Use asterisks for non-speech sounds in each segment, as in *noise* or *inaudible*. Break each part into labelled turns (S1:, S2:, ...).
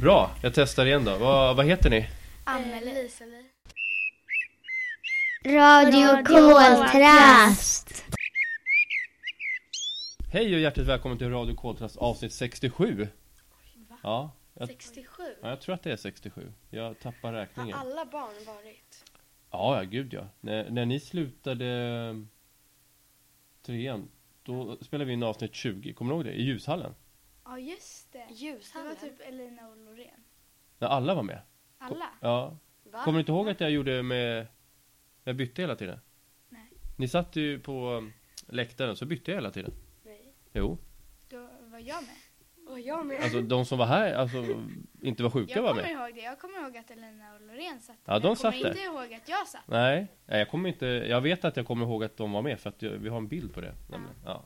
S1: Bra, jag testar igen då. Vad, vad heter ni?
S2: Anneli.
S3: Radio Koltrast.
S1: Hej och hjärtligt välkommen till Radio Koltrast avsnitt 67. Ja, jag,
S2: 67?
S1: ja, jag tror att det är 67. Jag tappar räkningen.
S2: Har alla barn varit?
S1: Ja, ja, gud ja. När, när ni slutade trean, då spelade vi in avsnitt 20. Kommer du ihåg det? I ljushallen.
S4: Ja, just det. Det var
S2: Ljushallen?
S4: typ Elina och Loreen.
S1: När alla var med.
S4: Alla?
S1: Ja.
S4: typ-
S2: Va?
S1: Kommer du inte ihåg att jag gjorde med... Jag bytte hela tiden?
S4: Nej.
S1: Ni satt ju på um, läktaren, så bytte jag hela tiden.
S2: Nej.
S1: Jo.
S4: Då var jag med.
S2: Och jag med.
S1: Alltså de som var här, alltså inte var sjuka
S4: Jag
S1: var
S4: kommer
S1: med.
S4: ihåg det. Jag kommer ihåg att Elina och Loreen satt
S1: Ja,
S4: men
S1: de
S4: jag
S1: satt
S4: kommer
S1: där.
S4: inte ihåg att jag satt.
S1: Nej, nej jag kommer inte, jag vet att jag kommer ihåg att de var med för att jag, vi har en bild på det. Nämligen. Ja.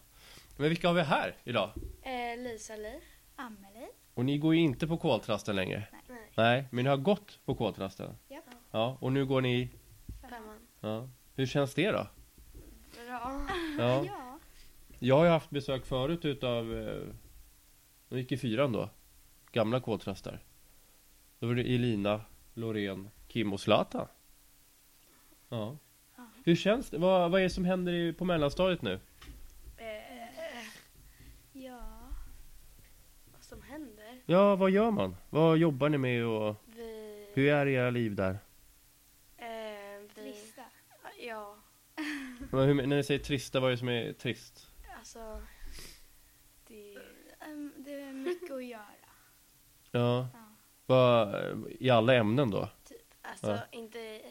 S1: Men vilka har vi här idag?
S2: Eh, Lisa Li.
S4: Amelie.
S1: Och ni går ju inte på koltrasten längre.
S2: Nej.
S1: Nej, men ni har gått på koltrasten.
S4: Japp.
S1: Ja, och nu går ni,
S2: Femman.
S1: ja. Hur känns det då?
S2: Bra.
S1: Ja.
S4: Ja.
S1: Jag har ju haft besök förut utav, eh, de gick i fyran då. Gamla koltrastar. Då var det Elina, Loreen, Kim och Zlatan. Ja. Hur känns det? Vad, vad är det som händer i, på mellanstadiet nu?
S4: Ja.
S2: Vad som händer?
S1: Ja, vad gör man? Vad jobbar ni med och
S2: Vi...
S1: hur är era liv där?
S2: Eh, vi...
S4: Trista.
S2: Ja,
S1: Men hur, när ni säger trista, vad är det som är trist?
S2: alltså... Det...
S4: Ehm, Det är mycket att göra.
S1: Ja. Vad, I alla ämnen då?
S2: Alltså,
S1: Ja.
S2: inte...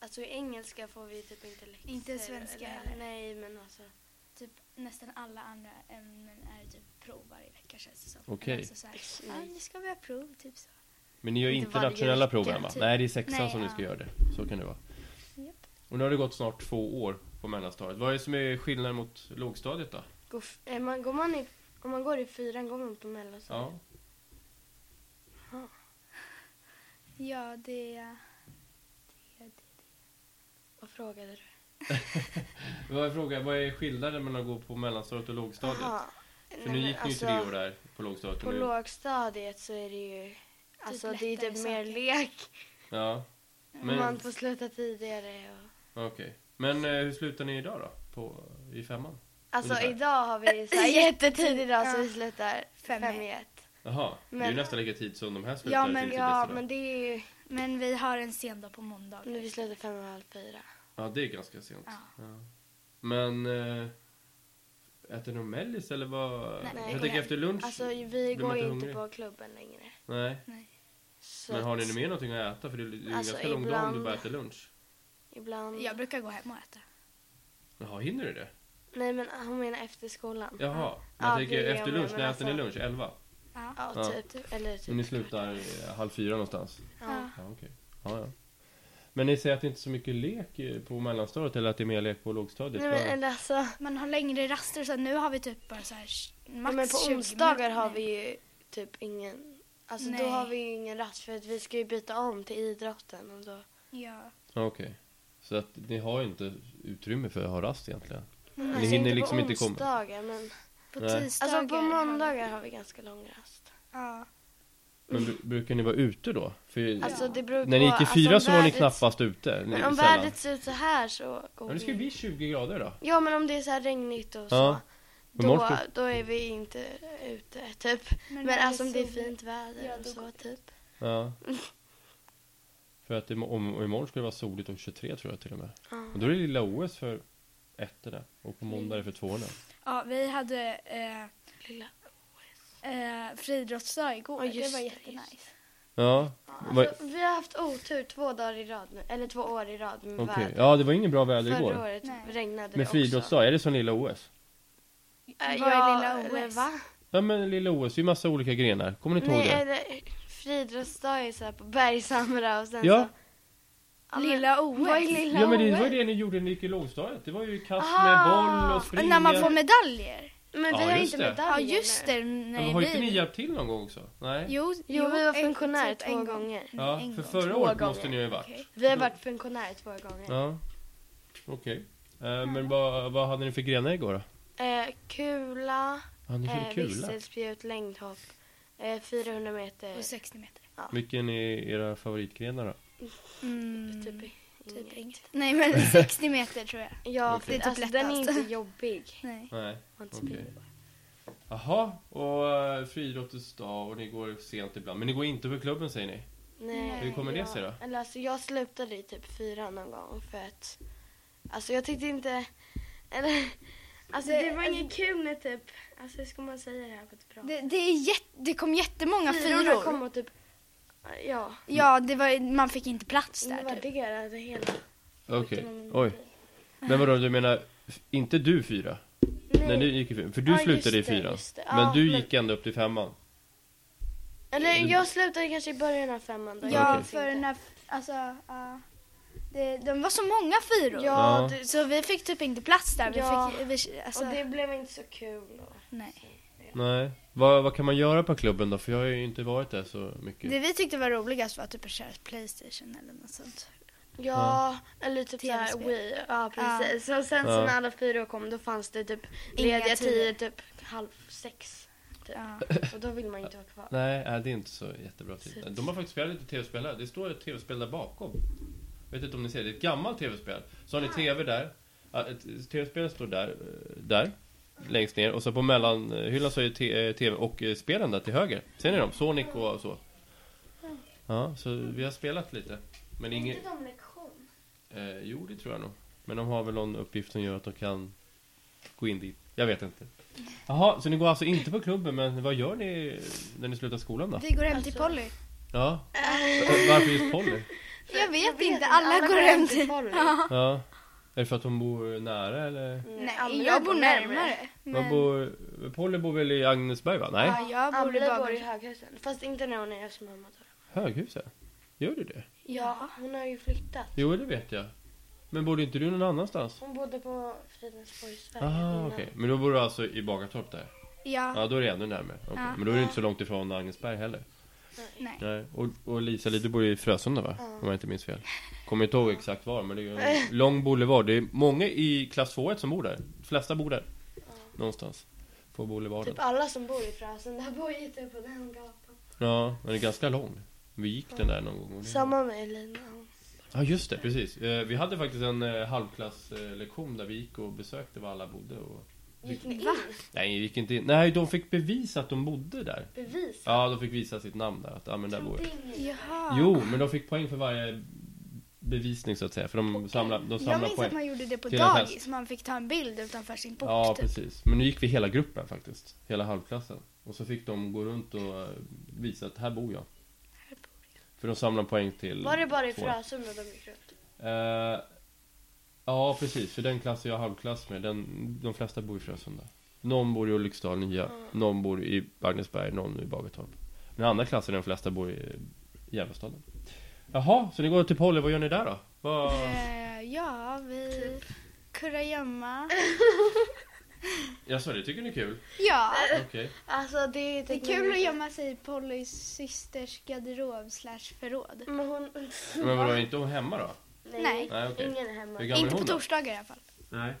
S2: Alltså i engelska får vi typ inte läxor.
S4: Inte svenska
S2: eller-
S4: heller.
S2: Nej, men alltså...
S4: *laughs* Typ nästan alla andra ämnen är typ prov varje vecka känns det som.
S1: Okej.
S4: Alltså så här, ja, nu ska vi ha prov, typ så.
S1: Men ni gör ju
S2: Inte varje
S1: internationella prov
S2: vecka,
S1: än va?
S2: typ.
S1: Nej, det är sexan
S4: Nej,
S1: som ni
S4: ja.
S1: ska göra det. Så kan det vara.
S4: Japp.
S1: Och nu har det gått snart två år på mellanstadiet. Vad är det som är skillnaden mot lågstadiet då?
S2: Går f- eh, man, går man i, om man går i fyran går man på mellanstadiet.
S1: Ja.
S4: Ja, det är... det är det.
S2: Vad frågade du?
S1: *laughs* Vad är, frågan, vad är skillnaden mellan att gå på mellanstadiet och lågstadiet?
S2: Jaha.
S1: För
S2: Nej,
S1: nu
S2: men
S1: gick ni ju
S2: alltså,
S1: tre år där på lågstadiet.
S2: På
S1: och nu-
S2: lågstadiet så är det ju... Alltså det är
S4: lättare
S2: typ mer
S4: saker.
S2: lek.
S1: Ja, Men-
S2: Man får sluta tidigare och...
S1: okej. Men eh, hur slutar ni idag då? På, I femman?
S2: Alltså
S1: Ungefär.
S2: idag har vi så här jättetid idag så vi slutar
S4: Fem
S2: fem
S4: i
S2: i ett.
S1: Jaha, det är ju
S2: Men-
S1: nästan lika tid som de här slutar.
S4: Ja, men-
S1: till
S2: Ja
S1: idag.
S2: men det är ju,
S4: Men vi har en sen dag på måndag.
S2: nu vi slutar fem och halv fyra.
S1: Ja, det är ganska sent.
S4: Ja.
S1: Ja. Men eh, äter ni någon mellis eller vad?
S4: Nej,
S1: jag
S2: nej.
S1: tänker efter lunch?
S2: Alltså vi
S1: man
S2: går ju
S1: inte
S2: inte
S1: hungrig?
S2: på klubben längre.
S1: Nej.
S2: Så
S1: Men har ni
S2: att
S1: mer någonting att äta? För det är ju en
S2: Alltså,
S1: ganska lång dag om du
S2: ibland-
S1: bara äter lunch.
S2: Ibland.
S4: Jag brukar gå hem och äta.
S1: Jaha, hinner du det?
S2: Nej men hon menar efter skolan.
S1: Jaha. Men
S2: Ja,
S1: jag tänker
S2: det gör
S1: efter
S2: jag,
S1: lunch,
S2: men
S1: när
S2: alltså-
S1: äter ni lunch? Elva?
S4: Ja.
S2: Ja,
S1: Ja.
S2: typ. Eller typ.
S1: Och ni slutar eh, halv fyra någonstans?
S2: Ja.
S1: Ja, okej. Ja, ja. Men ni säger att det inte är så mycket lek eh, på mellanstadiet eller att det är mer lek på lågstadiet?
S2: Nej
S1: Vad-
S2: men eller alltså.
S4: Man har längre raster så nu har vi typ bara så här sh-
S2: Ja,
S4: max
S2: men på
S4: 20
S2: onsdagar
S4: minuter.
S2: har vi ju typ ingen. Alltså då
S4: Nej.
S2: har vi ju ingen rast för att vi ska ju byta om till idrotten och
S4: Mm.
S2: då.
S4: Ja.
S1: Ja, Okej. Så att ni har ju inte utrymme för att ha rast egentligen?
S2: Alltså,
S1: hinner
S2: på
S1: liksom inte komma.
S2: onsdagar, Men...
S4: På
S1: Nej.
S4: tisdagar.
S2: Alltså på
S4: har vi-
S2: måndagar har vi ganska lång rast.
S4: Ja.
S1: Men br- brukar ni vara ute då? För
S2: Mm. Alltså det beror
S1: när ni gick
S2: på,
S1: i fyra
S2: alltså,
S1: så
S2: om
S1: var ni
S2: vädret-
S1: knappast ute.
S2: Men om
S1: sällan.
S2: vädret ser ut så här så går
S1: Ja, det ska ju
S2: vi.
S1: bli 20 grader då.
S2: Ja men om det är så här regnigt och så.
S1: Ja. Men
S2: Då,
S1: morgon-
S2: då är vi inte ute typ. Men,
S4: när
S2: alltså om det är
S4: soligt-
S2: fint väder
S4: Ja,
S2: och
S4: då går
S2: så typ.
S1: Ja. För att im- om, och imorgon ska det vara soligt och 23 tror jag till och med.
S2: Ja.
S1: Och då är det lilla OS för ettorna och på måndag är det för tvåorna.
S4: Ja, vi hade eh,
S2: Lilla.
S4: eh, friidrottsdag igår.
S2: Ja,
S4: det
S2: just
S4: var
S2: det,
S4: jättenice.
S1: Ja, vad-
S2: Alltså, vi har haft otur två dagar i rad nu. Eller två år i rad med
S1: okej.
S2: väder.
S1: Ja, det var ingen bra väder
S2: Förra
S1: igår.
S2: året
S4: Nej.
S2: regnade
S1: Men
S2: det också.
S1: friidrottsdag, är det som lilla OS?
S2: Äh,
S4: Vad är
S2: ja,
S4: lilla
S2: eller
S4: OS?
S2: Va?
S1: Ja men lilla OS, det är ju massa olika grenar. Kommer ni inte ihåg
S2: Nej,
S1: det?
S2: eller friidrottsdag är så här på Bergshamra och sen
S1: Ja.
S2: så. Ja, men-
S4: Lilla OS.
S2: Vad är lilla
S1: Ja men det
S2: OS?
S1: var ju det ni gjorde när ni gick i lågstadiet. Det var ju kast med
S2: Ah,
S1: boll och springa.
S4: När man får medaljer.
S2: Men
S1: Ja,
S2: vi har
S1: just
S2: inte
S1: det.
S2: medaljer
S4: Ja, just
S2: nu.
S4: det.
S1: Ja, men
S4: Nej,
S1: har inte ni
S4: vi...
S1: hjälpt till någon gång också? Nej?
S4: Jo,
S2: Jo, vi var
S4: en-
S2: funktionärer
S4: typ
S2: två
S4: en gång.
S2: gånger.
S1: ja,
S4: en
S1: för
S4: gång.
S1: förra
S2: Två
S1: året
S2: gånger.
S1: måste ni ju ha varit.
S4: Okej.
S2: Vi har varit funktionärer två gånger.
S1: Ja, okej. Eh, men vad, vad hade ni för grenar igår då?
S2: Eh, kula,
S1: Ja, ni gjorde
S2: eh,
S1: kula.
S2: visselspjut, längdhopp, Eh, 400 meter.
S4: Och 60 meter.
S1: Vilken är era favoritgrenar då?
S4: Mm,
S2: Typ,
S4: typ
S2: inget.
S4: inget. Nej men *laughs* 60 meter tror jag.
S2: Ja,
S1: Okej.
S2: för
S4: Det är typ
S2: alltså, den är
S4: lättast.
S2: inte jobbig.
S4: Nej.
S1: Nej,
S2: Man inte
S1: okej.
S2: springer bara.
S1: Jaha, och eh, friidrottens dag och ni går sent ibland. Men ni går inte på klubben säger ni?
S2: Nej,
S1: Hur kommer det
S2: jag,
S1: sig då?
S2: Eller alltså, jag slutade i typ fyran någon gång för att alltså jag tyckte inte eller, alltså det,
S4: Det-
S2: var inget kul när typ alltså hur ska man säga det här på ett bra
S4: Det, det, är jätt, det kom jättemånga
S2: Fyrorna
S4: fyror.
S2: kom och typ ja,
S4: Ja, det var, man fick inte plats
S2: det
S4: där
S2: var
S4: typ.
S2: det jag hade hela
S1: Okej, oj. Men vadå, du menar f- inte du fyra? När ni gick i fyran? För du
S2: Ja, just
S1: slutade i
S2: det,
S1: fyran.
S2: just det. Ja,
S1: Men du
S2: men-
S1: gick ända upp till femman.
S2: Eller jag slutade kanske i början av femman då. jag
S4: Ja,
S2: minns
S4: för
S2: inte.
S4: när, alltså, ja. det, de var så många fyror.
S2: Ja,
S1: Ja.
S2: det,
S4: Så vi fick typ inte plats där. Vi
S2: Ja.
S4: fick, vi, alltså,
S2: och det blev inte så kul. då.
S4: nej.
S1: Nej. Vad, vad kan man göra på klubben då? För jag har ju inte varit där så mycket.
S4: det vi tyckte var roligast var typ att köra Playstation eller något sånt.
S2: Ja, eller typ
S4: TV-spel.
S2: såhär Wii. Ja, precis. Och sen så
S1: Ja.
S2: när alla fyra kom då fanns det typ
S4: Inga
S2: lediga
S4: tider.
S2: tider typ halv sex. Typ.
S4: Ja.
S1: *laughs*
S2: Och då vill man ju inte vara kvar.
S1: Nej, nej, det är inte så jättebra tid. De har faktiskt spelat lite tv-spel här. Det står ett tv-spel där bakom. Vet inte om ni ser, det är ett gammalt tv-spel. Så har ni tv där. Ja, ett- Tv-spelet står där, eh, där. Längst ner. Och så på mellanhyllan så är det te- eh, tv och eh, spelen där till höger. Ser ni dem? Sonic och så. Ja, så vi har spelat lite. Men inget...
S4: de lektion?
S1: Eh, jo, det tror jag nog. Men de har väl någon uppgift som gör att de kan gå in dit. Jag vet inte. Jaha, så ni går alltså inte på klubben, men vad gör ni när ni slutar skolan då?
S4: Vi går hem till Polly.
S1: Ja. Varför just Polly?
S4: Jag vet, inte, alla, går hem till...
S2: Polly.
S1: Ja. Är det för att hon bor nära eller?
S4: Nej,
S2: Andra
S4: jag bor närmare.
S1: Man bor, Polly bor väl i Agnesberg va? Nej?
S4: Ja, jag bor i
S2: Andra bor i
S4: Babel.
S2: Höghusen. Fast inte när hon är hos mamma då.
S1: Höghuset? Gör du det?
S2: Ja. Hon har ju flyttat.
S1: Jo, det vet jag. Men bodde inte du någon annanstans?
S2: Hon bodde på Fridhemsborgsvägen
S1: Aha,
S2: innan.
S1: okej. Men då bor du alltså i Bagartorp där?
S4: Ja,
S1: Ja, då är det ännu närmare. Okej.
S4: Ja.
S1: Men då är det inte så långt ifrån Agnesberg heller.
S4: nej.
S1: Nej. Och, och Lisa, du bor i Frösunda va? Om jag inte minns fel. Kommer inte ihåg exakt var, men det är ju en lång boulevard. Det är många i klass 2 som bor där. De flesta bor där. Någonstans. På boulevarden.
S2: Typ alla som bor i Frösön, där bor ju typ på den gatan.
S1: Ja, den är ganska lång. Vi gick den där någon gång. och det-
S2: Samma med Elina.
S1: Ja, just det. Precis. Eh, Vi hade faktiskt en eh, halvklasslektion där vi gick och besökte var alla bodde. Och...
S2: Gick ni in?
S1: Nej, vi gick inte in. Nej, de fick bevisa att de bodde där.
S2: Bevis?
S1: Ja, de fick visa sitt namn där. Att, ja, men där bor jag.
S4: Jaha.
S1: Jo, men de fick poäng för varje bevisning så att säga. För de samlade, de
S4: jag
S1: samlade
S4: minns att
S1: poäng.
S4: man gjorde det på
S1: Till en fest.
S4: dagis. Man fick ta en bild utanför sin port.
S1: Ja,
S4: typ.
S1: precis. Men nu gick vi hela gruppen faktiskt. Hela halvklassen. Och så fick de gå runt och eh, visa att här bor jag. För de samlade poäng till...
S2: Var det bara i
S1: två.
S2: Frösunda de gick runt?
S1: Eh, ja, precis. För den klassen jag har halvklass med, den, de flesta bor i Frösunda. Någon bor i Ulriksdal nya, någon bor i Agnesberg, någon i Bagartorp. Den andra klassen, de flesta bor i Järvastaden. Jaha, så ni går till Polly, vad gör ni där då? Vad...
S4: Eh, ja, vi...
S1: Typ. *laughs*
S4: Kurragömma.
S1: Jag sa det tycker ni är kul?
S4: Ja.
S1: Okej.
S2: Alltså det är,
S4: Det är kul att gömma sig i Pollys systers garderob slash förråd.
S2: Men hon...
S1: Men vadå, är inte hon hemma då?
S4: Nej.
S1: Nej, okej.
S2: Ingen är hemma.
S1: Hur gammal
S4: Inte
S1: är
S4: på
S1: hon då?
S4: torsdagar i alla fall.
S1: Nej.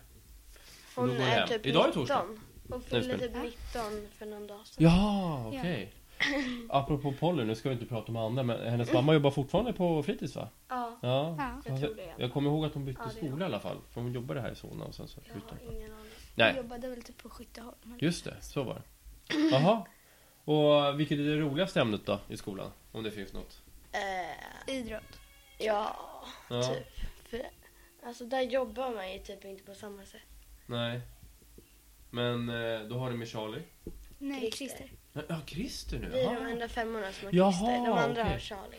S2: Hon
S1: Då går jag
S2: är
S1: hem.
S2: typ
S1: Idag är
S2: 19.
S1: torsdag.
S2: Hon
S1: Nej,
S2: fyllde typ
S4: spänn.
S2: 19 för någon dag sedan.
S1: Jaha, okej. Apropå Polly, nu ska vi inte prata om andra, men hennes mamma jobbar fortfarande på fritids va?
S2: Ja.
S1: Ja,
S4: Ja.
S2: Jag tror det.
S1: Jag kommer ihåg att hon bytte
S2: Ja, det gör
S1: skola i alla fall. För hon jobbade här i Solna och sen så
S2: Jag
S1: flyttade
S2: har
S1: hon.
S2: ingen aning.
S4: Jag
S1: Nej,
S4: jobbade väl typ på Skytteholm. eller?
S1: just det. Så var det. Jaha. Och vilket är det roligaste ämnet då i skolan? Om det finns något?
S2: Eh,
S4: Idrott.
S2: ja,
S1: Ja.
S2: typ. För, alltså där jobbar man ju typ inte på samma sätt.
S1: Nej. Men eh, då har ni med Charlie.
S4: Nej,
S2: Christer.
S4: Christer.
S1: Nej, Ja, Christer nu.
S2: Vi är de
S1: Jaha.
S2: enda femmorna som har
S1: Jaha,
S2: Christer. De andra
S1: okej.
S2: har Charlie.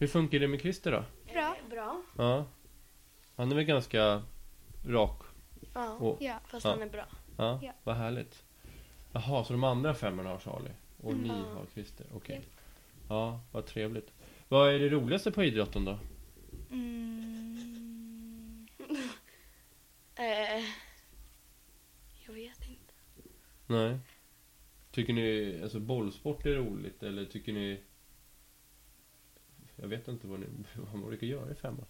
S1: Hur funkar det med Christer då?
S4: Bra.
S2: Eh, Bra.
S1: Ja. Han är väl ganska rak
S2: Ja.
S1: och...
S4: Ja.
S2: Fast
S1: Ja.
S2: han är bra.
S1: Ja,
S4: Ja.
S1: vad härligt. Jaha, så de andra femmorna har Charlie och ni
S2: Ja.
S1: har Christer. Okej. Ja, vad trevligt. Vad är det roligaste på idrotten då?
S4: Mm.
S2: Eh, jag vet inte.
S1: Nej. Tycker ni alltså bollsport är roligt eller tycker ni... Jag vet inte vad, ni, *laughs* vad man brukar göra i femman.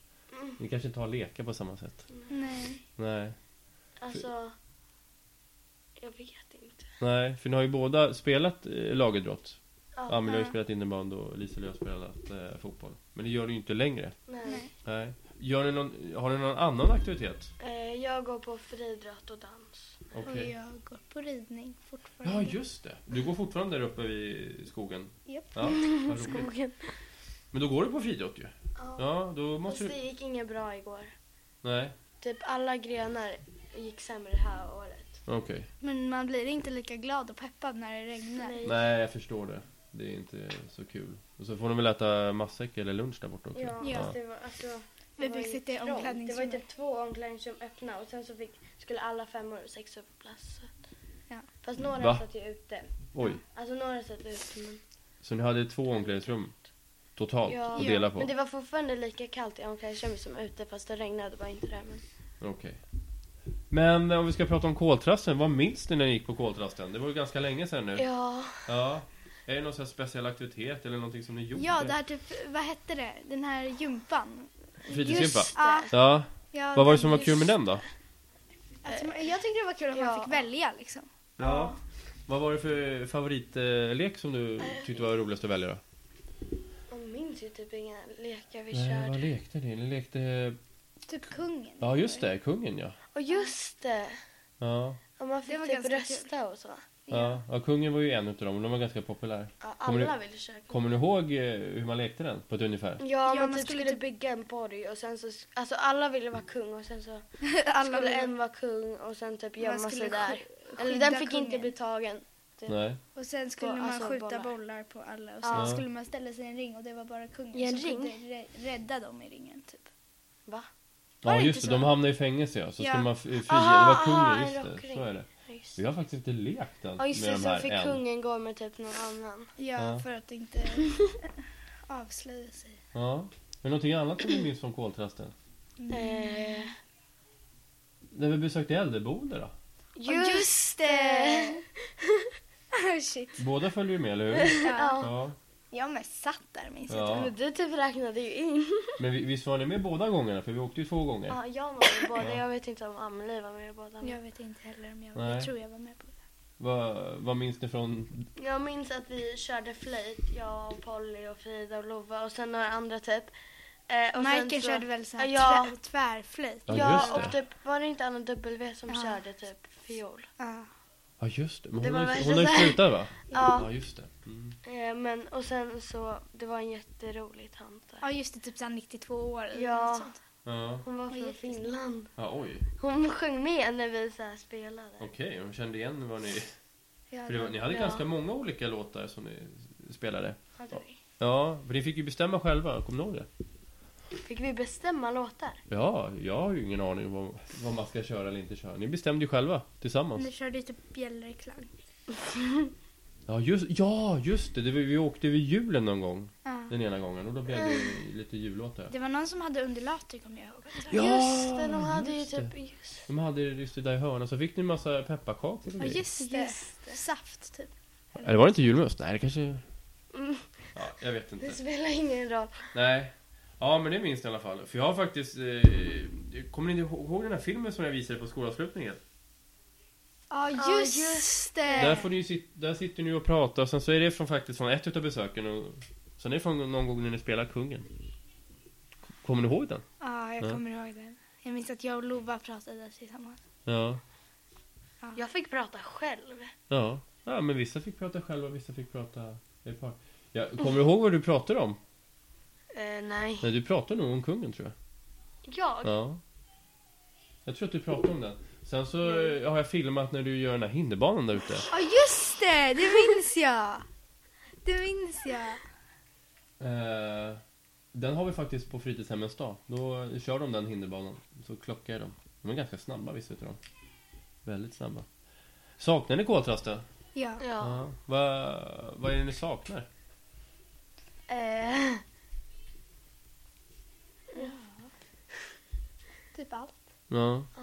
S1: Ni kanske inte har lekar på samma sätt?
S4: Nej.
S1: Nej.
S2: Mm. Alltså, jag vet inte.
S1: Nej, för ni har ju båda spelat eh, lagidrott.
S2: Ja,
S1: Amelie har ju spelat innebandy och Liselöv har spelat eh, fotboll. Men det gör du ju inte längre.
S2: nej.
S1: Nej. Gör ni någon, har ni någon annan aktivitet?
S2: Eh, Jag går på friidrott och dans.
S1: Okej.
S4: Och jag går på ridning fortfarande.
S1: Ja, just det. Du går fortfarande där uppe i skogen?
S4: Japp.
S2: *laughs*
S1: Ja, vad roligt.
S2: Skogen.
S1: Men då går du på friidrott ju.
S2: Ja.
S1: Ja, då
S2: Fast
S1: måste
S2: det
S1: du...
S2: gick inget bra igår.
S1: Nej,
S2: Typ alla grenar gick sämre det här året.
S1: okej.
S4: Men man blir inte lika glad och peppad när det regnar.
S2: Nej.
S1: Nej, jag förstår det. Det är inte så kul. Och så får de väl äta matsäck eller lunch där borta också.
S2: Ja,
S4: Ja.
S2: fast det var alltså... det
S4: Vi
S2: var
S4: fick
S2: ju
S4: sitta i
S2: trångt. Det var ju
S4: omklädningsrummet.
S2: typ två omklädningsrum öppna och sen så fick, skulle alla femmor och sexor få plats. Så. att-
S4: Ja.
S2: Fast några
S1: Va?
S2: satt ju ute.
S1: Oj,
S2: Alltså några satt ute. Men,
S1: så ni hade två omklädningsrum totalt
S2: Ja.
S1: att dela på?
S2: men det
S1: Okej.
S2: var fortfarande lika kallt i omklädningsrummet som ute fast det regnade bara inte där. Men...
S1: Men eh, om vi ska prata om koltrasten, vad minns ni när ni gick på koltrasten? Det var ju ganska länge sedan nu.
S2: Ja,
S1: Ja. Är det någon sån här speciell aktivitet eller någonting som ni gjorde?
S4: Ja, det här typ, vad hette det? Den här gympan.
S1: Fritidsgympa?
S2: just
S4: Ja,
S1: Ja.
S4: ja,
S1: Vad var det
S4: den-
S1: som var kul med den då?
S4: Alltså, man- jag tyckte det var kul att man
S2: Ja.
S4: fick välja liksom.
S1: Ja. Vad var det för favoritlek som du tyckte var roligast att välja då?
S2: man minns ju typ inga lekar vi körde.
S1: Eh, lekte ni? Ni lekte...
S4: Typ kungen.
S1: Ja, just
S2: *laughs*
S1: det. Kungen ja.
S2: Och just det!
S1: Ja.
S2: Och man
S4: Det
S2: fick
S4: var
S2: typ
S4: ganska
S2: rösta och så.
S1: Ja. ja, kungen var ju en utav dem och de var ganska populär.
S2: Ja,
S1: Kommer du-
S2: alla ville köra kort.
S1: Kommer ni ihåg eh, hur man lekte den på ett ungefär?
S2: Ja, man,
S4: man
S2: typ
S4: skulle
S2: skulle,
S4: typ-
S2: bygga en borg och sen så... Alltså alla ville vara kung och sen så
S4: Alla
S2: skulle
S4: ville-
S2: en vara kung och sen typ
S4: man
S2: gömma
S4: skulle
S2: sig där.
S4: sk-
S2: Eller
S4: skydda
S2: den fick inte
S4: kungen.
S2: bli tagen.
S1: Nej.
S4: Och sen skulle
S2: på-
S4: man
S2: alltså,
S4: skjuta
S2: bollar.
S4: bollar. på alla och sen
S1: Ja.
S4: skulle man ställa sig i en ring och det var bara kungen
S2: I en
S4: som
S2: ring?
S4: kunde rä- rädda dem i ringen typ.
S2: Va?
S1: Ja,
S4: det
S1: just
S4: inte
S1: det.
S4: så?
S1: De hamnade i fängelse ja. Så
S4: Ja.
S1: skulle man f- fria.
S2: Aha,
S1: det var
S2: aha,
S1: kungen,
S2: en
S1: just det.
S2: rockring.
S1: Så är det.
S2: Ja, just
S1: Vi har faktiskt inte lekt den
S2: Ja, just
S1: med
S2: det.
S1: de
S2: Sen
S1: här
S2: fick
S1: än.
S2: kungen gå med typ någon annan.
S4: Ja,
S1: Ja.
S4: för att inte
S2: *laughs*
S4: avslöja sig.
S1: Ja. Är det någonting annat som ni minns från koltrasten?
S2: Eh,
S1: När vi besökte äldreboende då?
S2: *laughs*
S4: Just, det!
S2: Oh,
S4: Shit.
S1: Båda följer ju med, eller hur?
S4: Ja.
S2: Ja.
S1: Ja.
S4: Jag med satt där minns jag.
S1: ja.
S2: Men du typ räknade ju in.
S1: Men vi- visst var ni med båda gångerna? För vi åkte ju två gånger.
S2: *laughs* Ja, jag var med båda.
S1: Ja.
S2: Jag vet inte om Amelie var med båda.
S4: Jag vet inte heller om jag var
S1: Nej.
S4: Jag tror jag var med på det.
S1: Vad, vad minns ni från...
S2: Jag minns att vi körde flöjt, jag och Polly och Frida och Lova och sen några andra typ. Eh, och sen
S4: Michael
S2: så-
S4: körde väl så här
S2: Ja.
S4: tvär, tvärflöjt.
S1: Ja,
S2: Ja,
S1: just
S2: och
S1: det.
S2: typ, var det inte Anna W som
S4: Ja.
S2: körde typ fiol?
S4: Ja.
S1: Ja, just det. Men
S2: Det
S1: hon,
S2: var
S1: har ju,
S2: värsta
S1: hon har ju
S2: så här-
S1: slutat va?
S2: *laughs* Ja,
S1: Ja, just det. Mm.
S2: eh, men och sen så, det var en jätterolig tant där.
S4: Ja just det, typ såhär 92 år eller
S2: Ja.
S4: något sånt.
S1: Ja.
S2: Hon var
S4: Vad
S2: från
S4: gick det?
S2: Finland.
S1: ja, oj.
S2: Hon sjöng med när vi så här spelade.
S1: Okej, hon kände igen vad ni...
S4: Ja,
S1: För det var, ni hade
S2: Ja.
S1: ganska många olika låtar som ni spelade.
S2: Hade vi.
S1: Ja, för ni fick ju bestämma själva, kommer ni ihåg det?
S2: Fick vi bestämma låtar?
S1: Ja, jag har ju ingen aning om vad, vad man ska köra eller inte köra. Ni bestämde ju själva, tillsammans.
S2: Mm.
S4: Ni körde ju typ bjällreklang.
S1: Ja, just, ja, just det. det var, vi åkte vid julen någon gång,
S4: Ja.
S1: den ena gången. Och då blev det ju
S2: Mm.
S1: lite jullåtar.
S4: Det var någon som hade undulater kommer jag ihåg.
S1: Ja,
S2: just det, de hade ju
S1: just det.
S2: typ... Just,
S1: De hade just det där i hörnan, så fick ni en massa pepparkakor och
S4: Ja
S1: grejer.
S4: just det. Saft typ.
S1: Eller var det inte julmust? Nej, det kanske...
S2: Mm.
S1: Ja, jag vet inte.
S2: det spelar ingen roll.
S1: Nej. Ja, men det minns jag i alla fall. För jag har faktiskt... Eh, kommer ni ihå- ihåg den här filmen som jag visade på skolavslutningen?
S4: Ja
S2: Ja,
S4: just, det.
S1: Där, får ni ju sit, där sitter ni och pratar, och sen så är det från, faktiskt från ett utav besöken. Och, sen är det från någon gång när ni spelar kungen. Kommer ni ihåg den?
S4: Ja jag
S1: Ja.
S4: kommer ihåg den. Jag minns att jag och Lova pratade tillsammans.
S1: Ja.
S2: Jag fick prata själv.
S1: Ja. Ja, men vissa fick prata själva, vissa fick prata i par. Ja, kommer du ihåg vad du pratade om?
S2: Eh, nej.
S1: Nej, du pratade nog om kungen, tror jag.
S2: Jag?
S1: Ja. Jag tror att du pratade om den. Sen så eh, har jag filmat när du gör den här hinderbanan där ute.
S4: Ja just det, det minns jag. Det minns jag.
S1: Eh, den har vi faktiskt på fritidshemmens dag. Då kör de den hinderbanan. Så klockar de. De är ganska snabba vissa utav dem. Väldigt snabba. Saknar ni koltrasten?
S4: Ja.
S2: Ja.
S1: Vad vad är det ni saknar?
S2: Eh,
S4: Typ allt.
S1: Ja.
S2: Ja.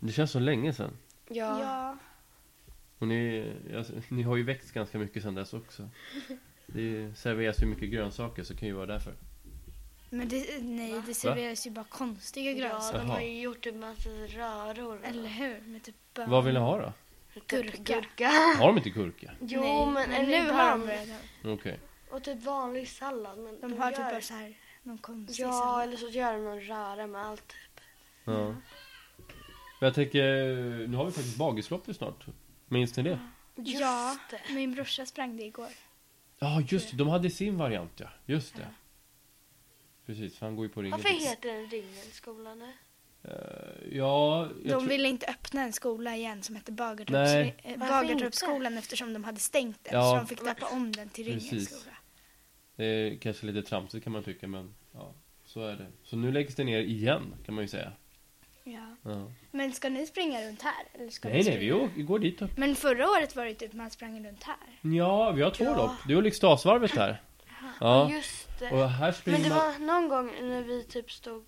S1: Det känns så länge sedan.
S2: ja.
S4: Ja.
S1: Och ni, alltså, ni har ju växt ganska mycket sedan dess också. Det serveras ju mycket grönsaker så det kan ju vara därför.
S4: Men det, nej det serveras ju bara konstiga
S2: Ja,
S4: grönsaker.
S2: de
S1: Jaha.
S2: har ju gjort en massa röror.
S4: Eller hur? Med typ bönor.
S1: Vad vill ni ha då?
S2: Typ
S4: Gurka.
S2: gurka.
S1: Har de inte gurka?
S2: Jo,
S4: Nej,
S2: men,
S4: men
S2: eller
S4: nu har de
S2: ibland.
S4: börjat. ha-
S1: Okej.
S2: Och typ vanlig sallad. Men
S4: De har typ
S2: gör-
S4: bara så här, någon konstig
S2: Ja,
S4: sallad.
S2: eller så gör de någon röra med allt.
S1: Ja. Men jag tänker, nu har vi faktiskt bagisloppis snart. Minns ni det?
S2: Just
S4: ja,
S2: det.
S4: min brorsa sprang det igår.
S1: Ja, just det. De hade sin variant, ja. Just det. Precis, för han går ju på ringen.
S2: Varför heter den Ringenskolan nu?
S1: Eh, Ja,
S4: De
S1: jag tror...
S4: ville inte öppna en skola igen som hette Bagartorps-
S1: Nej.
S4: eh,
S2: Varför inte?
S4: Bagartorpsskolan eftersom de hade stängt den.
S1: Ja.
S4: Så de fick döpa om den till
S1: Precis.
S4: Ringens skola.
S1: Det är kanske lite tramsigt kan man tycka, men ja, så är det. Så nu läggs det ner igen, kan man ju säga.
S4: Ja.
S1: Ja.
S4: Men ska ni springa runt här? Eller ska
S1: Nej, nej,
S4: springa?
S1: vi å- vi går dit upp.
S4: Men förra året var det typ man sprang runt här.
S1: Ja, vi har två
S2: Ja.
S1: lopp. Du och Lyxdalsvarvet här. Ja,
S2: Just det.
S1: och här
S2: Men
S1: springer
S2: det
S1: man...
S2: var någon gång när vi typ stod...